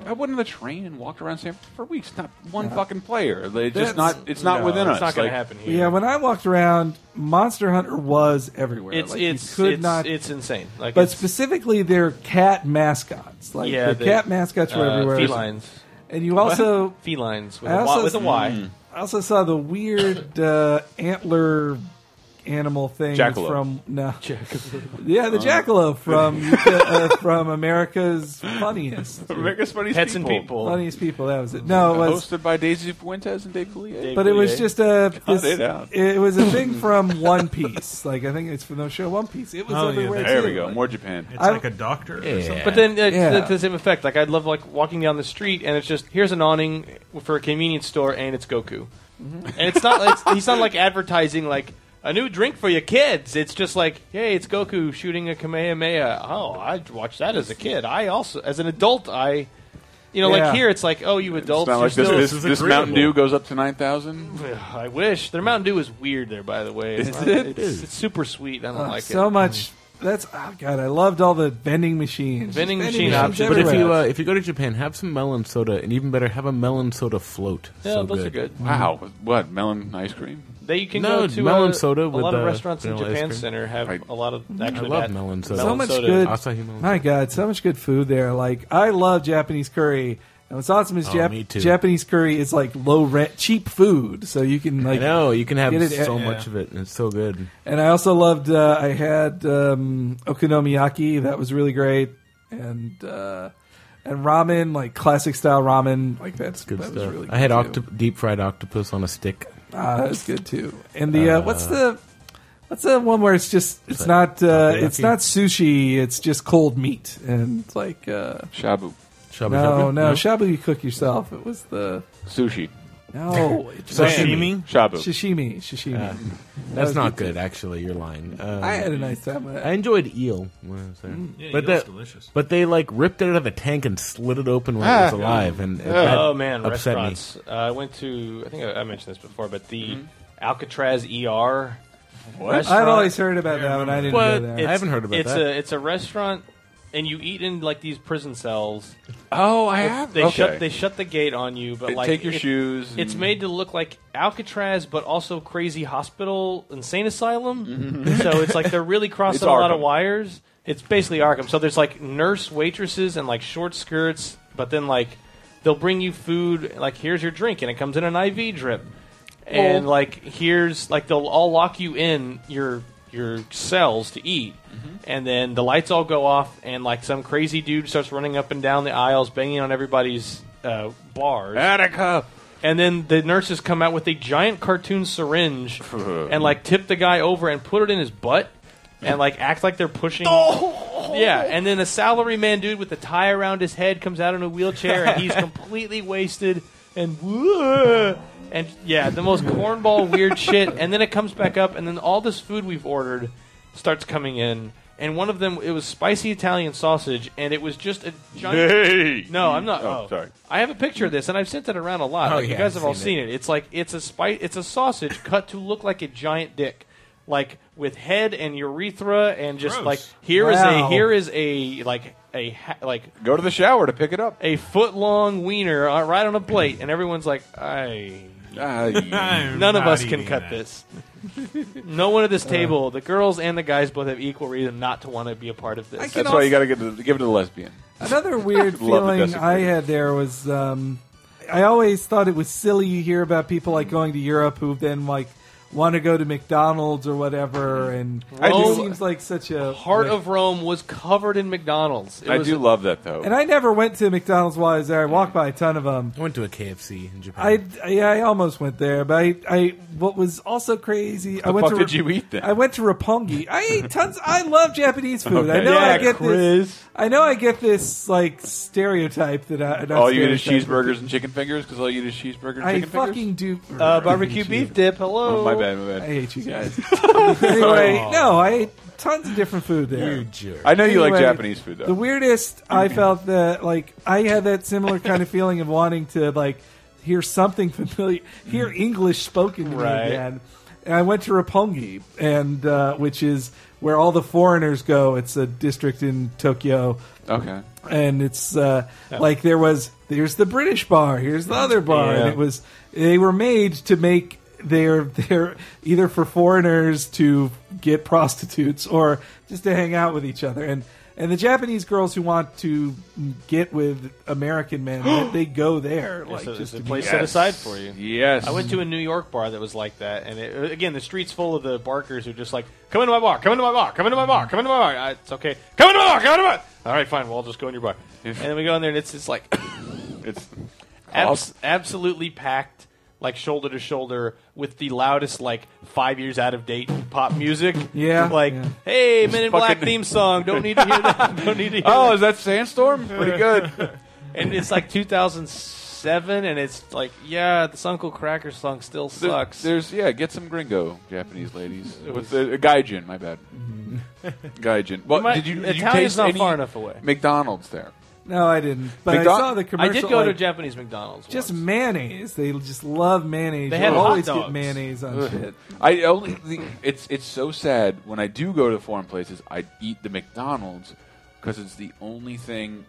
B: I went on the train and walked around San Francisco for weeks. Not one
E: Yeah.
B: fucking player. They
E: That's-
B: just not. It's not
I: no,
B: within
I: it's
B: us.
I: not gonna
B: Like,
I: happen here.
E: Yeah, when I walked around, Monster Hunter was everywhere.
I: It's
E: Like, you
I: it's
E: could
I: it's,
E: not.
I: it's insane. Like
E: but
I: it's,
E: specifically, their cat mascots, like
I: yeah,
E: their
I: the,
E: cat mascots were
I: uh,
E: everywhere.
I: Felines.
E: And you also
I: What? felines with
E: I
I: a
E: also- Mm.
I: y, with a y.
E: I also saw the weird uh, antler animal thing
I: Jackalope.
E: from no,
I: jackalope.
E: yeah, the
I: Uh.
E: jackalope from uh, from America's Funniest,
B: America's funniest
I: Pets and
B: people.
I: people.
E: Funniest people. That was it. No, it was
B: hosted by Daisy Fuentes and Dave Coulier.
E: But it was just a
B: Cut
E: this,
B: it out.
E: it was a thing from One Piece. Like I think it's from the show One Piece. It was
K: Oh, yeah,
E: everywhere.
B: there
E: too.
B: we go. More Japan.
K: It's
E: I-
K: like a doctor. Or something.
I: But then uh,
E: Yeah.
I: to, the- to the same effect. Like I'd love like walking down the street and it's just here's an awning for a convenience store and it's Goku, and it's not it's, he's not like advertising like a new drink for your kids. It's just like hey, it's Goku shooting a Kamehameha. Oh, I watched that as a kid. I also as an adult I. You know,
B: Yeah.
I: like here, it's like, oh, you
B: It's
I: adults.
B: not
I: you're
B: like this.
I: still-
B: This, this Mountain Dew goes up to nine thousand.
I: I wish their Mountain Dew is weird. There, by the way,
B: Is
I: It's-
B: it?
I: It's, it's super sweet. I don't
E: Oh,
I: like it
E: so much. That's oh god. I loved all the vending machines.
I: Vending
E: Just
I: machine
E: machines
I: options.
G: But if you
E: everywhere.
G: uh, if you go to Japan, have some melon soda, and even better, have a melon soda float.
I: Yeah,
G: so
I: those are good.
B: Wow, what melon ice cream?
I: They you can
G: No,
I: go to
G: melon
I: uh,
G: soda
I: a
G: with
I: lot of
G: the
I: restaurants in
G: vanilla ice
I: Japan
G: cream.
I: Center have a lot of. Actually,
G: love
I: that-
G: melon soda.
E: so
I: melon
E: much
I: soda.
E: good.
G: Asahi melon
E: My god, so much good food there. Like I love Japanese curry. And what's awesome is
G: Oh,
E: Jap-
G: me too.
E: Japanese curry is like low rent, cheap food. So you can like
G: no, you can have
E: get it at-
G: so much of it, and it's so good.
E: And I also loved. Uh, I had um, okonomiyaki. That was really great. And uh, and ramen, like classic style ramen, like that's
G: Good
E: that
G: stuff.
E: was really. Good
G: I had
E: too.
G: octop- deep fried octopus on a stick.
E: Ah, that's good too. And the uh, what's the What's that one where it's just it's not uh,
K: takoyaki?
E: it's not sushi, it's just cold meat and it's like uh,
B: Shabu. Shabu
E: No,
B: shabu?
E: no,
B: No?
E: shabu you cook yourself. It was the
B: Sushi.
E: no it's
G: Sashimi?
B: Shabu.
E: Sashimi, sashimi.
G: Uh,
E: That
G: that's
E: was
G: not
E: good.
G: good, actually. You're lying. Um,
E: I had a nice time with it.
G: I enjoyed eel when I was there,
E: Mm. Yeah,
G: but
E: eel's
G: that-
E: delicious.
G: But they like ripped it out of a tank and slid it open when it was
I: Ah.
G: alive, and and that
I: oh man,
G: upset me.
I: restaurants. Uh, I went to. I think I, I mentioned this before, but the
G: Mm-hmm.
I: Alcatraz ER.
E: What?
I: restaurant-
E: I've always heard about that one. I didn't
I: What?
E: go there. I
I: It's-
E: haven't heard about
I: it's
E: that.
I: A, it's a restaurant, and you eat in like these prison cells.
B: Oh, I
I: It-
B: have-
I: They
B: okay.
I: shut they shut the gate on you, but
B: They
I: like
B: take your
I: it-
B: shoes
I: It's
B: and-
I: made to look like Alcatraz, but also crazy hospital, insane asylum. so it's like they're really crossing
B: It's
I: a lot
B: Arkham.
I: of wires. It's basically Arkham. So there's like nurse waitresses and like short skirts, but then like they'll bring you food. Like here's your drink, and it comes in an IV drip. And
B: Oh.
I: like here's like they'll all lock you in your your cells to eat, and then the lights all go off, and like some crazy dude starts running up and down the aisles, banging on everybody's uh, bars.
B: Attica.
I: And then the nurses come out with a giant cartoon syringe and like tip the guy over and put it in his butt and like act like they're pushing. Yeah, and then a salary man dude with a tie around his head comes out in a wheelchair and he's completely wasted and and yeah, the most cornball weird shit. And then it comes back up, and then all this food we've ordered starts coming in. And one of them, it was spicy Italian sausage, and it was just a giant.
B: Hey!
I: No, I'm not.
B: Oh,
I: Oh,
B: sorry.
I: I have a picture of this, and I've sent it around a lot.
B: Oh,
I: like,
B: yeah,
I: you guys have
B: I've
I: all
B: seen
I: seen it. It's like it's a spice. It's a sausage cut to look like a giant dick, like with head and urethra, and just
B: Gross.
I: like here is
B: Wow.
I: a here is a like a ha- like
B: Go to the shower to pick it up.
I: a foot long wiener uh, right on a plate, and everyone's like, I.
B: Ah, I'm
I: None of
B: not
I: us can
B: eating
I: cut
B: that. Uh.
I: this. No one at this table, the girls and the guys both have equal reason not to want to be a part of this.
E: I can That's why you also-
B: got to give it to the lesbian.
E: Another weird
B: Love to
E: feeling
B: disagree.
E: I had there was um, I always thought it was silly you hear about people like going to Europe who then like want to go to McDonald's or whatever, and
B: I
E: it
B: do-
E: seems like such a
I: Heart
E: like-
I: of Rome was covered in McDonald's. It
B: I
I: was-
B: do love that though.
E: And I never went to McDonald's while I was there. I walked by a ton of them.
G: I went to a KFC in Japan.
E: I, yeah, I almost went there, but I, I what was also crazy. I
G: The
E: went
G: fuck
E: to,
G: did you eat then?
E: I went to Roppongi. I ate tons. I love Japanese food. I
B: Okay.
E: know I
B: Yeah,
E: get
B: Chris.
E: this. I know I get this like stereotype that I. not
B: all you eat is
E: stereotype, but-
B: cheeseburgers and chicken fingers because all you eat is cheeseburger and
E: I
B: chicken fingers.
E: fucking do.
I: Uh, barbecue beef dip. Hello.
B: Oh, my bad, my bad.
E: I hate you guys. anyway, no, I ate tons of different food there.
B: You jerk. Oh. I know you like Japanese food, though.
E: The weirdest, I felt that like I had that similar kind of feeling of wanting to like hear something familiar, hear English spoken to me
I: Right.
E: again. And I went to Roppongi, and uh, which is where all the foreigners go. It's a district in Tokyo.
B: Okay.
E: And it's uh, like there was here's the British bar, here's the other bar, and
B: Yeah.
E: it was they were made to make their their either for foreigners to get prostitutes or just to hang out with each other. And and the Japanese girls who want to get with American men, they go there. Like
I: It's a,
E: just
I: it's a
E: to be-
I: place set aside for you.
B: Yes.
I: I went to a New York bar that was like that, and it, again, the streets full of the barkers who just like, "Come into my bar, come into my bar, come into my bar, come into my bar." I, it's okay, come into my bar, come into my. bar." All right, fine. Well, I'll just go in your bar. and then we go in there, and it's just like,
B: it's
I: abs- absolutely packed, like shoulder to shoulder, with the loudest like five years out of date pop music.
E: Yeah,
I: like
E: yeah.
I: hey, Men in Black
B: fucking-
I: theme song. Don't need to hear that. Don't need to hear.
B: Oh,
I: that.
B: is that Sandstorm? Pretty good.
I: and it's like 2007, and it's like, yeah, this Uncle Cracker song still
B: There-
I: sucks.
B: There's yeah, get some gringo Japanese ladies with the uh, gaijin. My bad, gaijin. Well,
I: You might-
B: did you, did you
I: Italian's
B: taste
I: not
B: any
I: far enough away.
B: McDonald's there.
E: No, I didn't. But
B: McDo-
E: I saw the
I: I
E: commercial.
I: did go to a
E: like,
I: Japanese McDonald's.
E: just mayonnaise. They just love mayonnaise.
I: They
E: You
I: had hot
E: always
I: dogs.
E: get mayonnaise on
B: Ugh.
E: shit.
B: I only the, it's it's so sad when I do go to foreign places. I eat the McDonald's because it's the only thing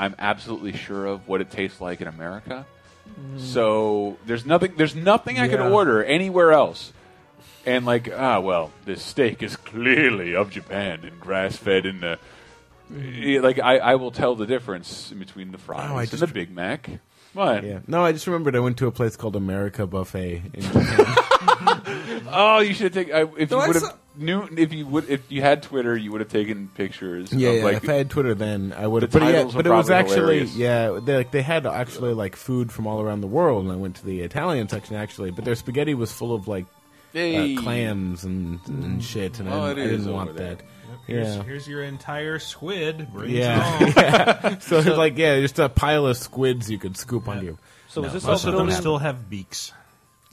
B: I'm absolutely sure of what it tastes like in America. So there's nothing there's nothing I can
E: Yeah.
B: order anywhere else. And like ah well, this steak is clearly of Japan and grass fed and uh, eh, like I, I will tell the difference in between the fries
G: I
B: and the Big Mac. What?
G: Yeah. No, I just remembered I went to a place called America Buffet in Japan.
B: Oh, you should take I, if
E: No, I
B: you would
E: saw-
B: have knew if you would if you had Twitter, you would have taken pictures.
G: yeah,
B: of,
G: yeah.
B: like
G: if I had uh, Twitter then, I would have.
B: The
G: But, yeah,
B: titles were
G: but it was
B: probably
G: actually
B: hilarious.
G: yeah. They, like they had actually like food from all around the world, and I went to the Italian section actually. But their spaghetti was full of like
B: Hey.
G: uh, clams and, and shit, and
K: Oh,
G: I,
K: it
G: didn't- I
K: is
G: didn't
K: over
G: want
K: there.
G: that.
K: Here's,
G: Yeah.
K: here's your entire squid. Bring It
G: Yeah.
K: home.
G: so it's like yeah, just a pile of squids you could scoop onto you.
K: So is this
G: most
K: also
G: of them
K: built in-
G: still
K: have beaks.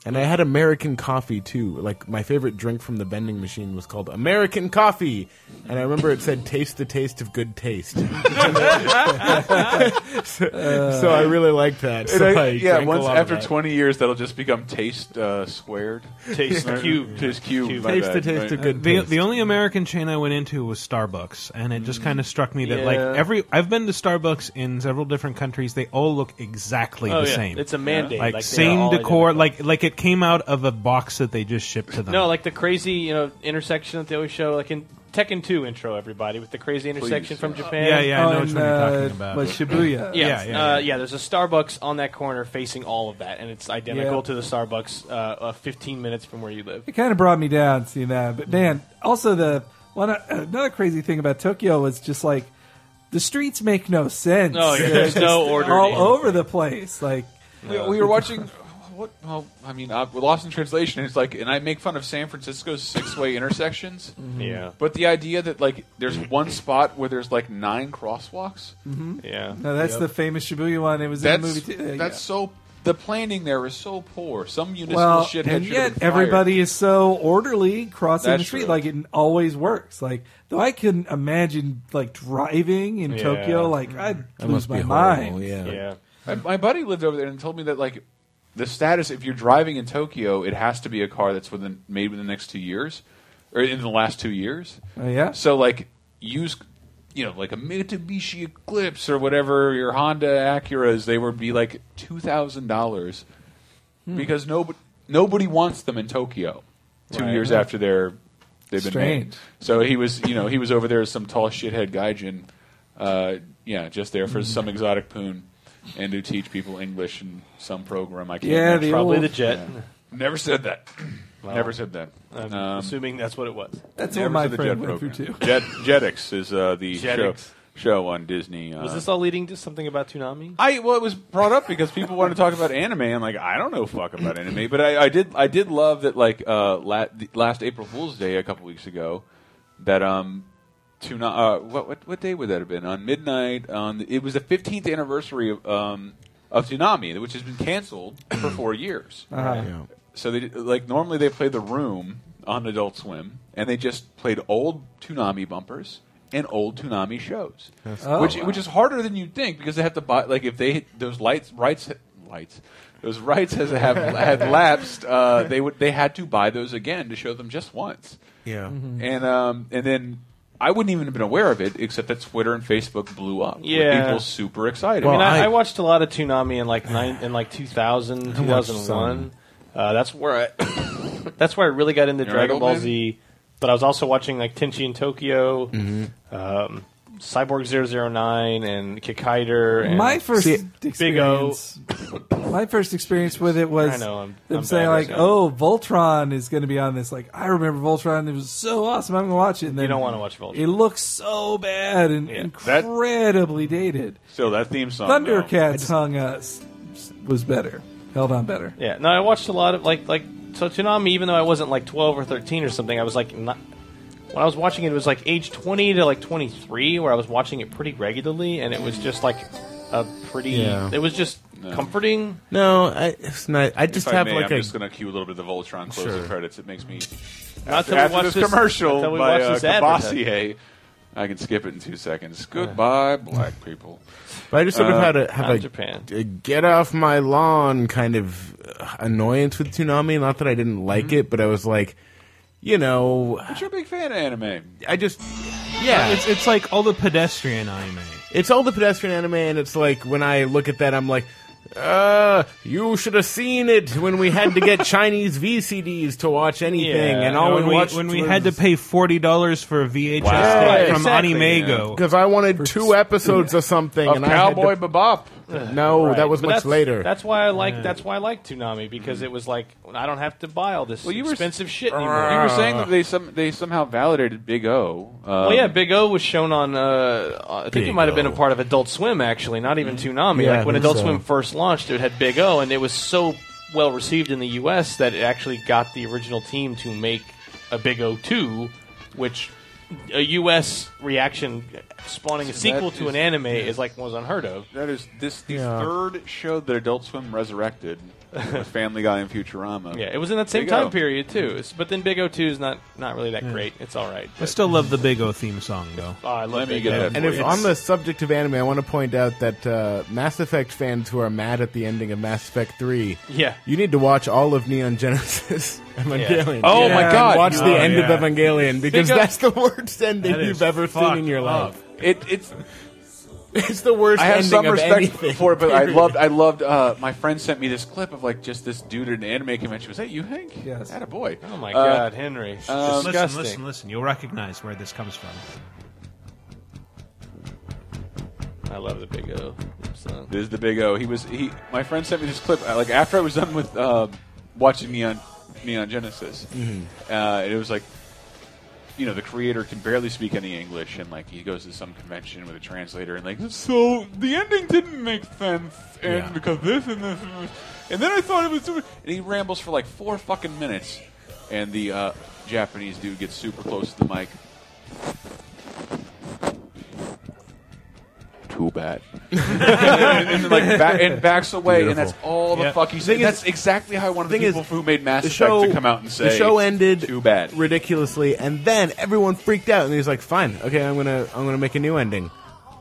G: And I had American coffee too. Like my favorite drink from the vending machine was called American coffee, and I remember it said "Taste the taste of good taste." so, so I really liked that. So
B: And I-
G: I
B: yeah,
G: drank a
B: once
G: lot of
B: after
G: that.
B: 20 years, that'll just become taste uh, squared.
I: Taste
B: Or-
I: cubed.
B: Taste cubed. my
G: Taste the
B: bad,
G: taste
B: right.
G: of good
K: The, the only American chain I went into was Starbucks, and it just kind of struck me that like
I: Mm. Yeah.
K: every I've been to Starbucks in several different countries, they all look exactly
I: Oh,
K: the
I: yeah.
K: same.
I: It's a mandate,
K: like,
I: like, they are
K: same
I: all
K: decor, like like it came out of a box that they just shipped to them.
I: No, like the crazy, you know, intersection that they always show, like in Tekken 2 intro, everybody with the crazy intersection from Japan.
K: Yeah, yeah, I know
E: Oh,
K: which
E: and,
K: one you're
E: uh,
K: talking about.
E: like Shibuya.
I: Yeah,
E: Yeah,
I: yeah,
E: yeah,
I: Uh, yeah. There's a Starbucks on that corner facing all of that, and it's identical
E: Yeah.
I: to the Starbucks uh, uh, 15 minutes from where you live.
E: It kind of brought me down seeing that. But man, also the one uh, another crazy thing about Tokyo was just like the streets make no sense.
I: Oh, yeah,
E: They're
I: there's
E: just
I: no order to
E: all
I: anything.
E: over the place. Like
B: We, we were watching. What? Well, I mean, uh, we're lost in translation. It's like, and I make fun of San Francisco's six-way intersections.
I: Mhm. Yeah.
B: But the idea that like there's one spot where there's like nine crosswalks.
E: Mhm.
I: Yeah.
E: No, that's
B: Yep.
E: the famous Shibuya one. It was
B: that's
E: in the movie. Too. Uh,
B: that's
E: yeah.
B: so. The planning there is so poor. Some municipal
E: well,
B: shithead
E: and
B: should
E: yet
B: have been fired.
E: everybody is so orderly crossing
B: That's
E: the street.
B: true.
E: Like it always works. Like though, I couldn't imagine like driving in
B: Yeah.
E: Tokyo. Like I'd
B: That
E: lose
B: must
E: my
B: be
E: mind.
B: horrible, yeah. Yeah. My, my buddy lived over there and told me that like the status if you're driving in Tokyo, it has to be a car that's within made within the next two years or in the last two years.
E: Oh, yeah?
B: So like use you know like a Mitsubishi Eclipse or whatever your Honda Acuras, they would be like two thousand dollars
E: Hmm.
B: because nobody nobody wants them in Tokyo. Two
E: Right.
B: years after they're they've been
E: Strange.
B: made. So he was, you know, he was over there as some tall shithead gaijin, uh, yeah, just there for some exotic poon, and to teach people English in some program. I can't.
E: Yeah,
B: remember.
E: the Probably old-
I: the jet.
B: Yeah. Never said that.
I: Well,
B: Never said that.
I: I'm
B: Um,
I: assuming that's what it was.
E: That's
B: never
E: what my
B: said the
E: friend
B: jet
E: went through
B: program.
E: too.
B: Jet, Jetix is uh, the show,
I: Jetix.
B: show on Disney. Uh,
I: was this all leading to something about tsunami?
B: I well, it was brought up because people wanted to talk about anime. I'm like, I don't know fuck about anime, but I, I did I did love that like uh, la- the- last April Fool's Day a couple weeks ago that um tuna uh, what what what day would that have been on midnight on the, it was the 15th anniversary of um of Tsunami, which has been canceled for four years.
E: Uh-huh.
G: Yeah.
B: So they like normally they play The Room on Adult Swim, and they just played old Toonami bumpers and old Toonami shows,
G: That's
I: Oh,
B: which
G: cool.
B: which is harder than you'd think because they have to buy like if they those lights rights lights those rights has have had lapsed, uh, they would they had to buy those again to show them just once.
G: Yeah.
I: Mm-hmm.
G: Mhm.
B: and um, and then. I wouldn't even have been aware of it, except that Twitter and Facebook blew up. with
I: Yeah.
B: people super excited.
I: I mean, I, I, watched a lot of Toonami in like nine, in like 2000,
B: I watched some.
I: 2001. Uh, that's where I, that's where I really got into
B: You're right,
I: Dragon
B: old
I: Ball
B: man?
I: Z. But I was also watching like Tenchi in Tokyo, um, Cyborg 009, and Kikider. And
E: my first
I: Big O.
E: experience, my first experience with it was
I: I know, I'm-
E: them
I: I'm
E: saying
I: bad at
E: like,
I: that.
E: "Oh, Voltron is going to be on this." Like, I remember Voltron; it was so awesome. I'm going to watch it. And then
I: don't wanna watch Voltron.
E: It looks so bad and
B: That-
E: incredibly dated.
B: Still, that theme
I: Oh,
B: song. though.
E: Thundercats hung us was better, held on better.
I: Yeah, no, I watched a lot of like like so Toonami. Even though I wasn't like twelve or thirteen or something, I was like not. When I was watching it, it was like age twenty to like twenty three, where I was watching it pretty regularly, and it was just like a pretty.
G: Yeah.
I: It was just comforting.
G: No, I, it's not. I just
B: if I
G: have
B: may,
G: like
B: I'm
G: a
B: just going to cue a little bit of the Voltron closing
G: Sure.
B: credits. It makes me
I: Not
B: after,
I: till we
B: after
I: watch
B: this,
I: this-
B: commercial
I: not till we
B: by
I: watch
B: uh,
I: this advertisement.
B: Kabassier, I can skip it in two
G: Uh.
B: seconds. Goodbye, black people.
G: But I just sort
B: Uh,
G: of had a, have
B: not
G: a, a get off my lawn kind of uh, annoyance with Toonami. Not that I didn't like
B: Mm-hmm.
G: it, but I was like, you know,
B: But you're a big fan of anime.
G: I just yeah,
K: it's it's like all the pedestrian anime.
G: it's all the pedestrian anime, and it's like when I look at that, I'm like. Uh, you should have seen it when we had to get Chinese VCDs to watch anything, and all
K: when
G: we
K: we,
G: watched
K: when we
G: was-
K: had to pay forty dollars for a VHS
G: Wow.
K: tape
G: Right,
K: from
G: exactly,
K: Animego.
G: because I wanted two episodes of something.
B: Of
G: and I had to-
B: Cowboy Bebop.
G: No,
I: Right.
G: Oh, that was
I: But
G: much
I: that's-
G: later. Mm-hmm.
I: That's why I like. That's why I like Toonami because it was like I don't have to buy all this
B: Well, you were-
I: expensive shit
B: You
I: anymore.
B: were saying that they some they somehow validated Big O. Um,
I: well, yeah, Big O was shown on. Uh, I think it
B: Big
I: might have been a
B: O. Mm-hmm.
I: part of Adult Swim, actually, not even Toonami.
B: Yeah, I
I: like when
B: think
I: Adult
B: so.
I: Swim first launched, it had Big O, and it was so well received in the U.S. that it actually got the original team to make a Big O two, which a U.S. reaction spawning a
B: So
I: sequel
B: that
I: to
B: is-
I: an anime
B: yeah.
I: is like was unheard of.
B: That is this the
I: Yeah.
B: third show that Adult Swim resurrected with Family Guy and Futurama.
I: Yeah, it was in that same
B: Big O.
I: time period too. It's- But then Big O two is not not really that great. It's all right.
K: I still love the Big O theme song though.
I: Oh, I love
B: Let me
I: Big
B: get
I: O.
B: that
G: And if on the subject of anime, I want to point out that uh, Mass Effect fans who are mad at the ending of Mass Effect Three,
I: Yeah.
G: you need to watch all of Neon Genesis Evangelion.
I: Oh my
G: And
I: God.
G: watch
I: Oh,
G: the end
I: yeah.
G: of Evangelion because
I: Because-
G: that's the worst ending
I: That
G: you've
I: is
G: ever seen in
I: fucked
G: your
I: up.
G: life.
B: It, it's
G: it's the worst.
B: I have
G: ending
B: some
G: of
B: respect
G: anything,
B: for it, but I
G: period.
B: loved. I loved. Uh, my friend sent me this clip of like just this dude at an anime convention. Was that you, Hank? Yes. Had a boy.
I: Oh my
B: Uh,
I: God, Henry!
B: um,
K: listen, listen, listen. You'll recognize where this comes from.
I: I love the Big O theme song.
B: This is the Big O. He was he. My friend sent me this clip. uh, Like after I was done with uh, watching Neon Neon Genesis,
G: Mhm.
B: uh, and it was like, you know, the creator can barely speak any English, and like he goes to some convention with a translator, and like, so the ending didn't make sense, and
J: Yeah.
B: because this and this, and this." and then I thought it was, doing- and he rambles for like four fucking minutes, and the uh, Japanese dude gets super close to the mic. Too bad. and, then, like back, and backs away, and that's
G: Beautiful.
B: all the
G: Yep.
B: fuck he's
G: Thing
B: saying.
G: is-
B: That's exactly how I wanted the
G: thing is,
B: people who made Mass
G: the
B: Effect
G: show
B: to come out and say
G: the show ended
B: too bad.
G: ridiculously, and then everyone freaked out, and he's like, "Fine, okay, I'm gonna I'm gonna make a new ending."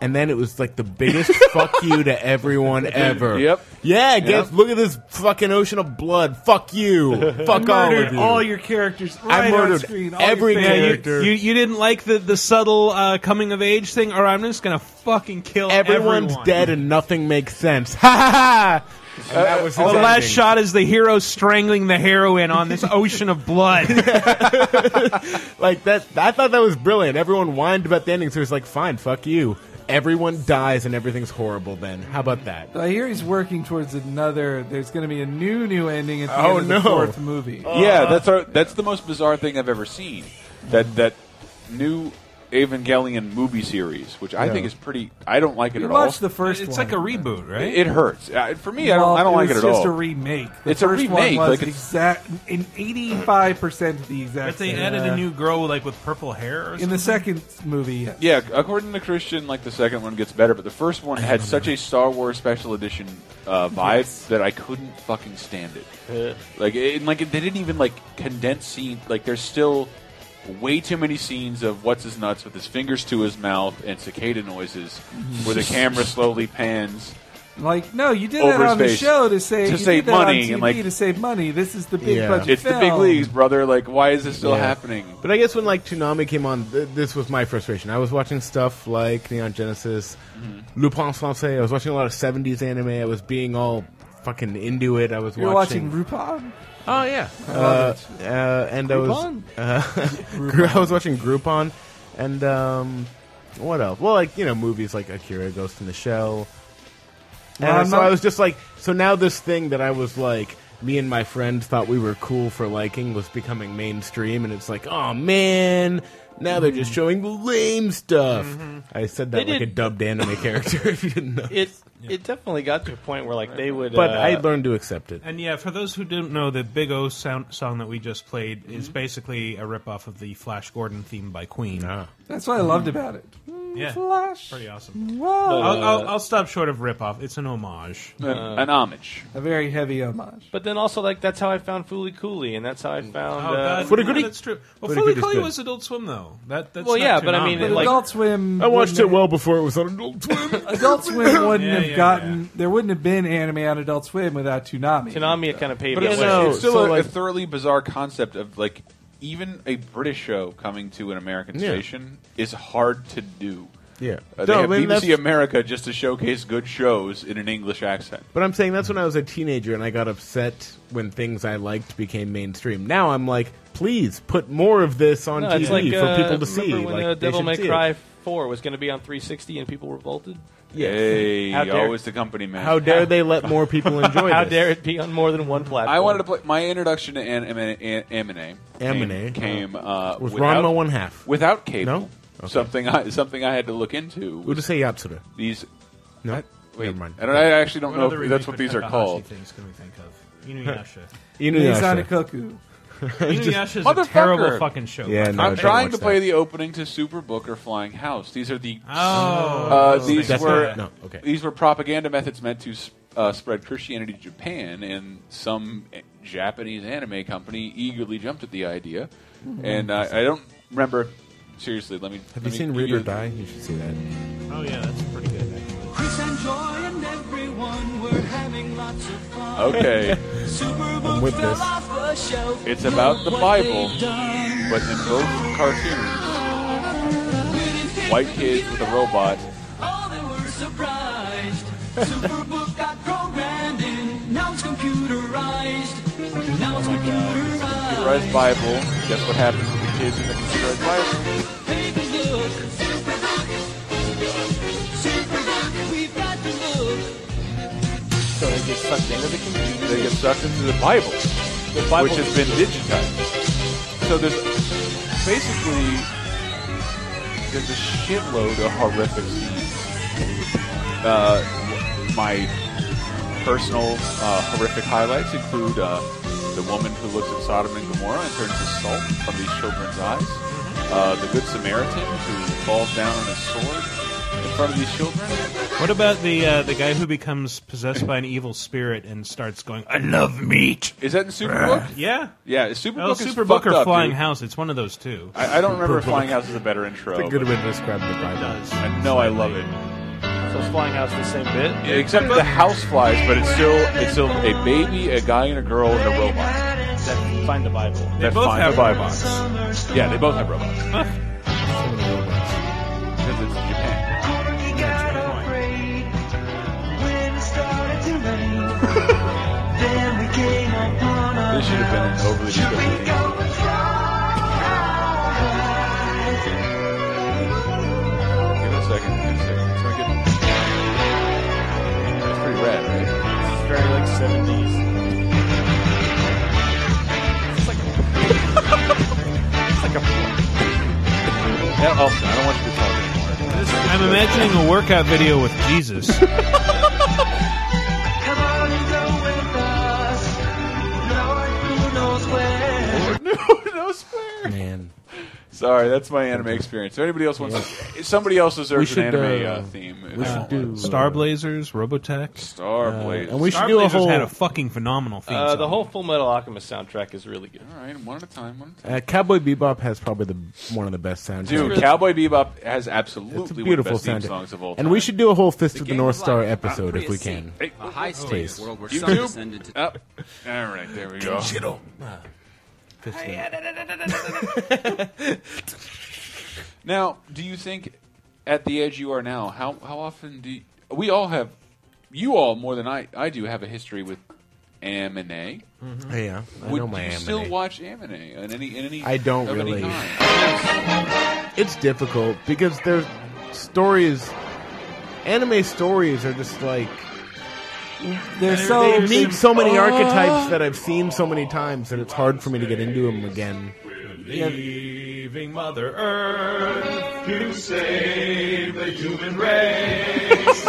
G: And then it was like the biggest fuck you to everyone ever.
B: Yep.
G: Yeah, guess
B: Yep.
G: look at this fucking ocean of blood. Fuck you. Fuck all
K: murdered
G: of you.
K: all your characters
G: I
K: right
G: murdered
K: on screen. all
G: every
K: your fans.
G: character.
K: You, you, you didn't like the, the subtle uh, coming of age thing? Or I'm just going to fucking kill
G: Everyone's
K: everyone.
G: dead and nothing makes sense. Ha ha ha! And that was
K: the
G: his
K: last
G: ending.
K: shot is the hero strangling the heroine on this ocean of blood.
G: like that. I thought that was brilliant. Everyone whined about the ending, so it's like, fine, fuck you. Everyone dies and everything's horrible. Then how about that?
E: I hear he's working towards another. There's going to be a new new ending at the end
G: Oh,
E: of the
G: no.
E: fourth movie.
I: Oh.
B: yeah,
G: Uh,
B: that's our, that's the most bizarre thing I've ever seen. That that new Evangelion movie series, which I
E: Yeah.
B: think is pretty. I don't like it
E: We
B: at
E: watched
B: all.
E: the first It's one. like a
K: reboot, right?
B: It, it hurts Uh, for me. I don't.
E: Well,
B: I don't like it
E: was
B: at all.
E: just a remake. The
B: it's
E: first
B: a remake.
E: One was
B: like it's,
E: exact in eighty five percent the exact.
K: but they
E: same.
K: added a new girl like with purple hair or something.
E: in the second movie. Yes.
B: Yeah, according to Christian, like the second one gets better, but the first one had such a Star Wars Special Edition uh, vibe that I couldn't fucking stand
I: Yeah.
B: it. like, it, and, like they didn't even like condense scene. Like, there's still way too many scenes of what's his nuts with his fingers to his mouth and cicada noises, where the camera slowly pans.
E: Like no, you did
B: Over
E: that
B: his
E: on the
B: face.
E: show to say
B: To
E: you
B: save
E: did that on
B: money and,
E: TV
B: like-
E: to save money. This is the big
G: Yeah.
E: budget.
B: It's the big
E: film.
B: leagues, brother. Like, why is this still
G: Yeah.
B: happening?
G: But I guess when like Toonami came on, th- this was my frustration. I was watching stuff like Neon Genesis, Lupin Francais. I was watching a lot of '70s anime. I was being all fucking into it. I was
E: You're watching
G: watching.
E: Rupon.
G: Oh yeah,
E: I
G: uh,
E: love
G: uh, and I was uh, I was watching Groupon, and um, what else? Well, like you know, movies like Akira, Ghost in the Shell. And
E: Well, I'm
G: so
E: not-
G: I was just like, so now this thing that I was like, me and my friend thought we were cool for liking was becoming mainstream, and it's like, oh man, now they're just showing the lame stuff. I said that
I: They
G: like
I: did-
G: a dubbed anime character, if you didn't know.
I: It it definitely got to a point where like they would.
G: But
I: uh,
G: I learned to accept it.
K: And yeah, for those who didn't know, the Big O sound, song that we just played is basically a ripoff of the Flash Gordon theme by Queen.
E: That's what I loved
G: Mm-hmm.
E: about it.
K: Yeah,
E: Flash.
K: pretty awesome.
E: Whoa.
B: Uh,
K: I'll, I'll, I'll stop short of ripoff. It's an homage,
B: An- an homage.
E: A very heavy homage.
I: But then also like that's how I found Fooly Cooley, and that's how
G: Mm.
I: I found.
K: Oh,
I: uh,
K: God. Footy Yeah, Cooly? that's true. Well, Footy
I: Cooly
K: Cooly was Adult Swim though. That that's
I: Well,
K: not
I: yeah,
K: too
I: but I
K: novel.
I: mean, But like-
E: Adult Swim.
G: I watched it
E: wouldn't
G: well before it was on Adult Swim.
E: have- Adult Swim wouldn't
I: Yeah,
E: have
I: yeah,
E: gotten. There wouldn't have been anime on Adult Swim without Toonami.
I: Toonami kind of paved
B: But
I: the
B: it's,
I: way.
B: it's still a, a thoroughly bizarre concept of like even a British show coming to an American
G: Yeah.
B: station is hard to do.
G: Yeah.
B: Uh, they
G: No,
B: have
G: I mean,
B: BBC
G: that's-
B: America just to showcase good shows in an English accent.
G: But I'm saying that's when I was a teenager and I got upset when things I liked became mainstream. Now I'm like, please put more of this on
I: No,
G: TV
I: it's like,
G: for
I: uh,
G: people to see.
I: Remember when
G: like,
I: uh,
G: they
I: Devil
G: should
I: May
G: see it.
I: Cry Four was going to be on 360 and people revolted?
G: Yeah.
B: Hey,
I: How dare-
B: always the company man.
G: How dare they let more people enjoy
I: How
G: this?
I: dare it be on more than one platform?
B: I wanted to play my introduction to an- M- an- anime. came,
G: Anime.
B: came uh,
G: With
B: without-
G: Ranma one half.
B: without cable.
G: No? Okay.
B: Something I something I had to look into.
G: We'll
B: was
G: just say Yatsura.
B: these
G: No?
B: wait,
G: Never mind.
B: I, don't, I actually don't
K: What
B: know
K: other
B: if that's
K: remake
B: what
K: of
B: these are
K: Takahashi
B: called.
K: Things can we think of? Inuyasha.
E: Inuyasha. Koku.
K: Inuyasha's a terrible fucking show.
G: Yeah, no, I
B: I'm
G: don't
B: trying
G: watch
B: to
G: that.
B: play the opening to Super Booker Flying House. These are the
K: Oh.
B: uh, these
G: That's
B: were
G: not- no, okay.
B: these were propaganda methods meant to s- uh, spread Christianity to Japan, and some eh, Japanese anime company eagerly jumped at the idea.
G: Mhm.
B: And uh, I don't remember seriously. Let me.
G: Have
B: let
G: you
B: me
G: seen
B: give
G: Read
B: you-
G: or Die? You should see that.
K: Oh yeah, that's pretty good.
M: Chris and Joy and everyone were having lots of fun.
G: Oh,
B: Okay.
M: Superbook
B: I'm with
M: fell
B: this.
M: off the shelf.
B: It's
M: Look
B: about the
M: what
B: Bible,
M: they've done.
B: but in both cartoons, white kids with a robot.
M: Oh, they were surprised. Superbook got programmed in. Now it's computerized. Now it's computerized.
B: Computerized Bible. Guess what happens to the kids in the computerized Bible?
M: Take a look. Superbook. Superbook. We've got to look.
B: So they get sucked into the computer. They get sucked into the Bible, which has been digitized. So there's basically there's a shitload of horrific scenes. Uh, my personal uh, horrific highlights include uh, the woman who looks at Sodom and Gomorrah and turns to salt from these children's eyes. Uh, the Good Samaritan who falls down on a sword in front of these children.
K: What about the uh, the guy who becomes possessed by an evil spirit and starts going, "I love meat."
B: Is that in Superbook?
K: Yeah.
B: Yeah, Superbook
K: Oh,
B: is
K: Superbook
B: fucked
K: or
B: up,
K: Flying
B: dude.
K: House? It's one of those two.
B: I, I don't remember if Flying House is a better intro.
G: It's a good
B: but
G: way to describe the Bible.
E: uh.
B: I know I love it.
I: So it's Flying House the same bit?
B: Yeah, Except the house flies, but it's still it's still a baby, a guy, and a girl, and a robot.
I: That find the Bible.
B: They that
I: both
B: find
I: have
B: the Bible. Yeah, they both have robots. Because it's Japan. This should have been an overly descriptive thing. Give it a second. Give it a second. It's not good. It's pretty rad, right?
I: It's very like seventies.
B: Yeah, Austin, I don't want you to talk anymore.
K: I'm imagining a workout video with Jesus.
B: no, no swear.
G: Man.
B: Sorry, that's my anime experience. If anybody else wants, if somebody else
G: We
B: deserves
G: should,
B: an anime
G: uh,
B: uh, theme.
G: we
B: I
G: should
B: want
G: do- uh,
B: one.
K: Star Blazers, Robotech,
B: Star Blazers.
G: and we should do a
K: Starblazers
G: whole-
K: had a fucking phenomenal theme.
I: Uh,
K: song.
I: the whole Full Metal Alchemist soundtrack is really good.
B: All right, one at a time. One at a time.
G: Uh, Cowboy Bebop has probably the one of the best soundtracks.
B: Dude, Cowboy Bebop has
G: It's a
B: absolutely
G: beautiful
B: one of the best theme
G: soundtrack.
B: songs of all time.
G: And we should do a whole Fist of the
B: Game
G: North
B: of
G: Star
B: Life.
G: episode if we can.
B: Hey,
O: A high-stakes
B: please.
O: world where
B: You
O: some
B: too?
O: descended to-
B: Up. Oh, All right, there we go.
E: oh.
O: Digital.
B: Now, do you think at the age you are now, how how often do you, we all have you all more than I I do have a history with M and A?
G: Mhm. Yeah, I
B: Would
G: know my
B: you
G: M&A.
B: still watch M and A in any in any?
G: I don't
B: of
G: really.
B: Any kind?
G: It's difficult because their stories, anime stories, are just like
E: They're
G: they
E: so-
G: need so many
E: Oh.
G: archetypes that I've seen so many times that it's hard for me to get into them again.
K: Leaving Mother Earth
M: to save
K: the human
M: race.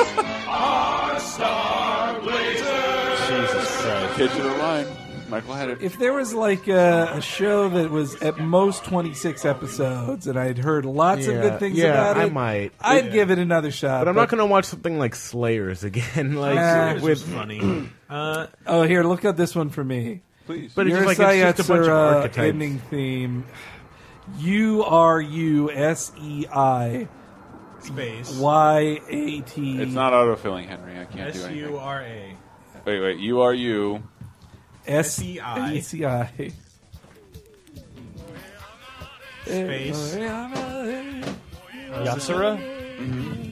M: Our star
B: Jesus Christ! Kids are line. Michael had it.
E: If there was like a, a show that was at most 26 episodes and I had heard lots of
G: Yeah,
E: good things
G: yeah,
E: about it,
G: I might.
E: I'd
G: Yeah.
E: give it another shot.
G: But I'm not going to watch something like Slayers again.
K: Uh,
G: Like
E: Slayers
G: with
E: was
K: funny. Uh,
E: Oh, here, look at this one for me.
B: Please.
G: But it's
E: Your uh,
G: just like- it's just a bunch of
E: Sayatsura
G: archetypes.
E: ending theme. U R U S E I
K: Space.
E: Y A T.
B: It's not autofilling, Henry. I can't do
K: S
B: anything.
K: U R A.
B: Wait, wait. You are you.
E: S E
K: S-E-I.
E: I.
K: Space.
I: Yatsura?
E: Mm-hmm.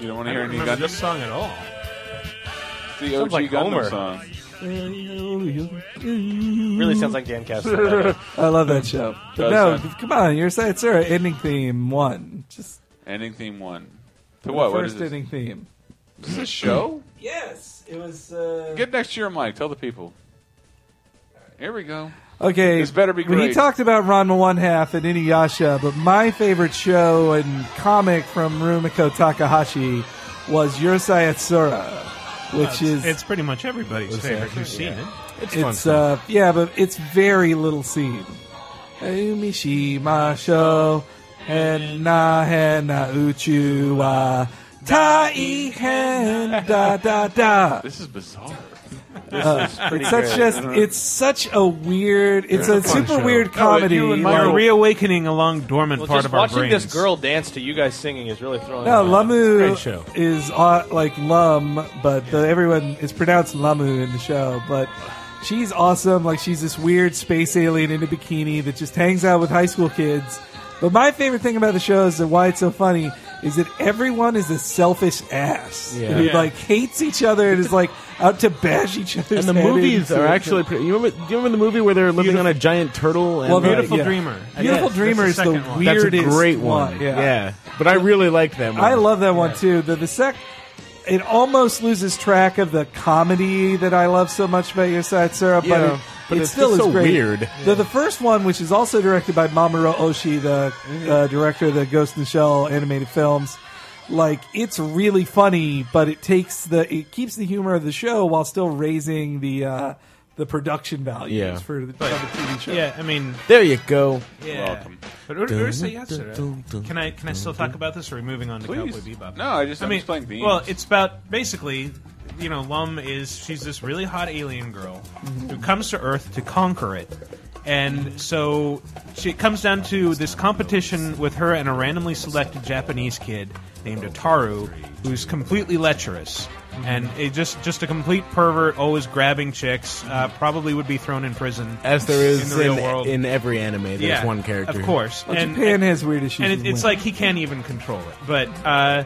B: You don't want
K: I
B: to hear
K: don't
B: any
K: remember
B: Gundam.
K: this song at all.
B: It's the
I: Sounds
B: OG
I: like
B: Gundam
I: Homer.
B: song.
E: Really
I: Really sounds like Dan Castellaneta.
E: I love that show.
B: Does
E: But no,
B: sound-
E: come on, your Sayatsura ending theme one. Just
B: Ending theme one. To what?
E: The
B: What is
E: first
B: this?
E: ending theme.
B: Is this a show?
E: Yes, it was. Uh...
B: Get next to your mic. Tell the people. Here we go.
E: Okay,
B: This better be
E: when
B: great.
E: He talked about Ranma One Half and Inuyasha, but my favorite show and comic from Rumiko Takahashi was Yurusai Atsura, which is
K: it's pretty much everybody's favorite. You've seen it.
E: it's uh, yeah, but it's very little seen. Umishi masho and na hen na uchu wa taihen da da da.
B: This is bizarre.
E: Uh, it's such just it's such a weird it's a, super weird comedy.
K: We're
E: like-
K: reawakening a long dormant
I: Well,
K: part
I: just
K: of our
I: watching
K: brains.
I: this girl dance to you guys singing is really throwing.
E: No,
I: me off.
E: Lamu is uh, like Lum, but the, everyone it's pronounced Lamu in the show. But she's awesome. Like she's this weird space alien in a bikini that just hangs out with high school kids. But my favorite thing about the show is that why it's so funny is that everyone is a selfish ass
G: Yeah.
E: who
G: Yeah.
E: like hates each other and is like out to bash each other.
G: And the movies are actually pretty. You remember, do you remember the movie where they're living on a giant turtle? And
E: Well,
G: like-
E: Beautiful yeah. Dreamer. Beautiful
G: Yes,
E: Dreamer
G: that's
E: is the
G: second one. That's a
E: weirdest
G: great
E: one,
G: one.
E: yeah.
G: Yeah. but I really like that. One.
E: I love that one too. The the sec it almost loses track of the comedy that I love so much about your side, Sarah, but,
G: Yeah,
E: it,
G: but
E: it
G: it's
E: still
G: just
E: is
G: so
E: great.
G: weird.
E: The, the first one, which is also directed by Mamoru Oshii, the
G: Mm-hmm.
E: uh, director of the Ghost in the Shell animated films, like it's really funny, but it takes the it keeps the humor of the show while still raising the uh, the production values
G: Yeah.
E: for the, for the TV show.
K: yeah, I mean,
G: There you go.
K: yeah. But Ur- Ursa Yatsura, can I can I still talk about this? Or are we moving on to
B: Please.
K: Cowboy Bebop?
B: No, I just-
K: I
B: I'm
K: mean,
B: just playing beans.
K: well, it's about basically, you know, Lum is she's this really hot alien girl who comes to Earth to conquer it, and so she it comes down to this competition with her and a randomly selected Japanese kid named Ataru, who's completely lecherous. And it just just a complete pervert, always grabbing chicks. Uh, probably would be thrown in prison
G: As there is
K: in the real
G: in-
K: world
G: in every anime, there's
K: yeah,
G: one character.
K: Of course,
E: Well, Japan has weird issues
K: and
E: with
K: it, it's
E: women.
K: like he can't even control it. But uh,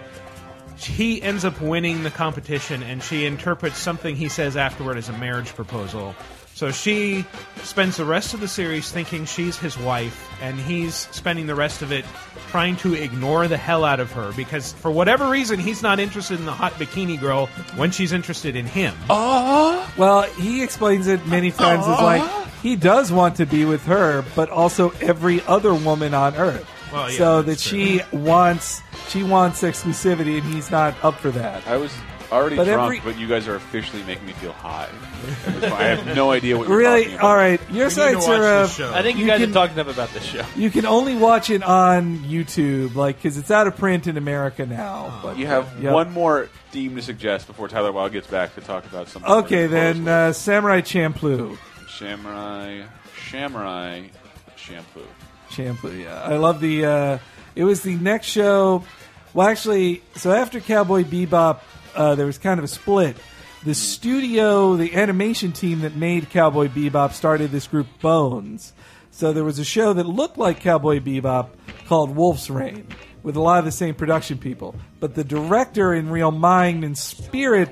K: he ends up winning the competition, and she interprets something he says afterward as a marriage proposal. So she spends the rest of the series thinking she's his wife, and he's spending the rest of it trying to ignore the hell out of her because, for whatever reason, he's not interested in the hot bikini girl when she's interested in him.
E: Oh. Well, he explains it many times as
K: Uh-huh.
E: like he does want to be with her, but also every other woman on earth.
K: Well, yeah,
E: so that she wants she wants exclusivity, and he's not up for that.
B: I was already
E: But
B: drunk,
E: every-
B: but you guys are officially making me feel high. I have no idea what you're
E: Really?
B: talking about.
E: All right, your
B: We need to
E: side,
B: watch
E: Sarah.
B: this show.
I: I think you,
E: you
I: guys
E: can-
I: are talking to them about this show.
E: You can only watch it on YouTube, like because it's out of print in America
I: Oh.
E: now. But
B: You have
E: yeah.
B: one more theme to suggest before Tyler Wilde gets back to talk about something.
E: Okay,
B: more
E: then uh, Samurai Champloo.
B: Samurai, Samurai shampoo.
E: Shampoo, yeah. I love the. Uh, it was the next show. Well, actually, so after Cowboy Bebop, uh, there was kind of a split. The studio, the animation team that made Cowboy Bebop, started this group Bones. So there was a show that looked like Cowboy Bebop called Wolf's Rain with a lot of the same production people. But the director in real mind and spirit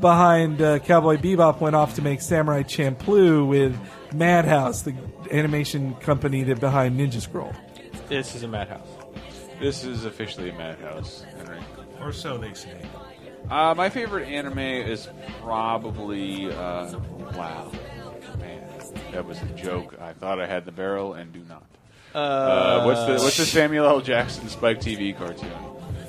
E: behind uh, Cowboy Bebop went off to make Samurai Champloo with Madhouse, the animation company that behind Ninja Scroll.
I: This is a madhouse.
B: This is officially a madhouse, Henry.
K: Or so they say.
B: Uh, my favorite anime is probably uh, Wow. Man, that was a joke. I thought I had the barrel and do not. Uh, what's the What's the Samuel L. Jackson Spike TV cartoon?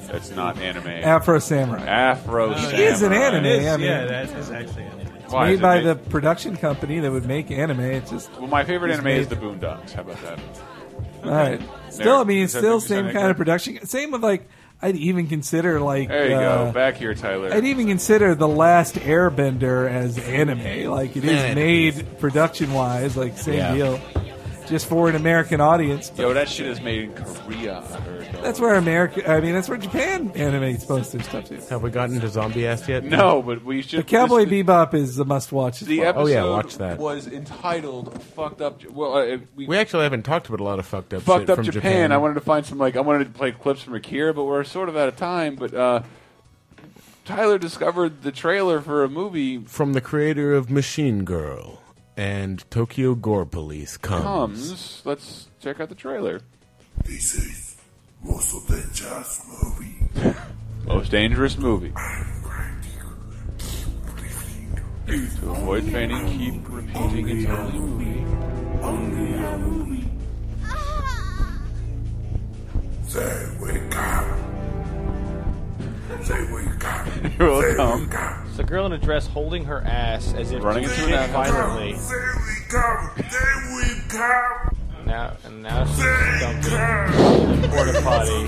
B: That's not anime.
E: Afro Samurai.
B: Afro.
E: Uh, It
B: Samurai.
E: is an anime. I mean,
K: yeah, that is actually anime.
E: It's
B: Why, is
E: made
B: it
E: by
B: made-
E: the production company that would make anime. It's just
B: Well, my favorite
E: it's
B: anime
E: made-
B: is The Boondocks. How about that?
E: All right. Still, I mean, it's still same kind of production. Same with like, I'd even consider like.
B: There you
E: uh,
B: go. Back here, Tyler.
E: I'd even consider the last Airbender as anime. Like it is
B: Man, it
E: made production wise, like same
B: Yeah.
E: deal, just for an American audience.
B: Yo, that shit is made in Korea. I heard, though.
E: That's where America. I mean, that's where Japan animates most of their stuff too.
G: Have we gotten to zombie ass yet?
B: No, but we should.
E: But Cowboy Bebop is a must-watch. as
B: The
E: well.
B: episode
G: Oh, yeah, watch that.
B: was entitled "Fucked Up." J- Well, uh, we,
G: We actually haven't talked about a lot of fucked up
B: fucked
G: shit
B: up
G: from
B: Japan.
G: Japan.
B: I wanted to find some like I wanted to play clips from Akira, but we're sort of out of time. But uh, Tyler discovered the trailer for a movie.
G: from the creator of Machine Girl and Tokyo Gore Police comes.
B: Comes. Let's check out the trailer.
O: This is most dangerous movie.
B: Most dangerous movie. To avoid fainting, keep repeating it's only a movie.
O: Only a movie. They wake up. They wake
B: will come.
I: It's a girl in a dress holding her ass as if
B: Running
I: to
B: into
I: shit
B: an alley.
I: violently. Now and now she's dumped in the porta potty.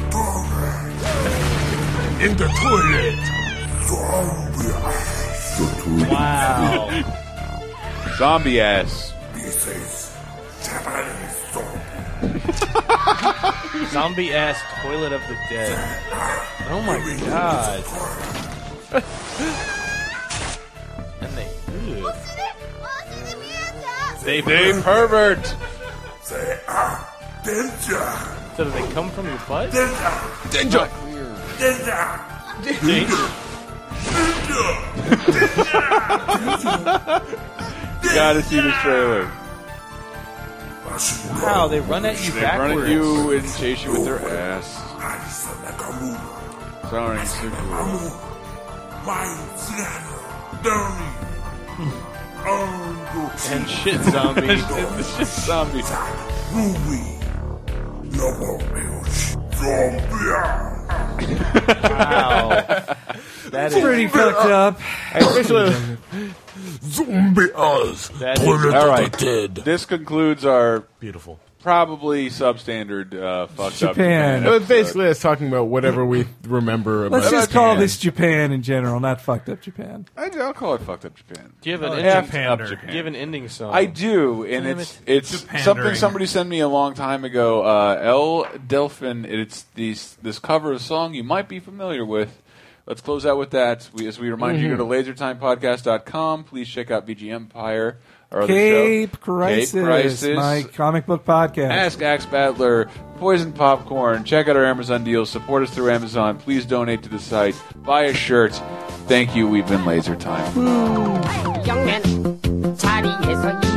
O: In the toilet.
B: Wow. Zombie ass.
I: Zombie ass toilet of the dead. Oh my god. and they. Ew. They
B: They pervert.
I: So do they come from your butt?
B: Danger. Gotta see this trailer.
I: Wow, they run at you
B: They run
I: backwards.
B: at you and chase you with their ass. Sorry, Sukuro.
I: And shit zombie.
B: shit zombie.
I: Wow. That is
E: pretty fucked up.
I: Especially-
O: Zombie eyes.
I: That
O: toilet of
B: All
O: the
B: right.
O: dead.
B: This concludes our
G: beautiful,
B: probably substandard, uh, fucked up.
E: Japan.
G: It was
B: uh,
G: basically us talking about whatever we remember about.
E: Let's just call
G: Japan.
E: this Japan in general, not fucked up Japan.
B: I, will call it fucked up Japan.
I: Do you have an
B: Oh,
I: ending?
B: Fucked Up
I: Do you have an ending song?
B: I do, and
I: Damn
B: it's
I: it.
B: it's
I: Japandering.
B: something somebody sent me a long time ago. Uh, El Delphin. It's these this cover of a song you might be familiar with. Let's close out with that. We, as we remind you,
E: Mhm.
B: go to lasertimepodcast.com. Please check out VG Empire. Our other show.
E: Cape Crisis,
B: Cape Crisis.
E: my comic book podcast.
B: Ask Axe Battler, Poison Popcorn. Check out our Amazon deals. Support us through Amazon. Please donate to the site. Buy a shirt. Thank you. We've been Laser Time.
P: Young man, tidy is a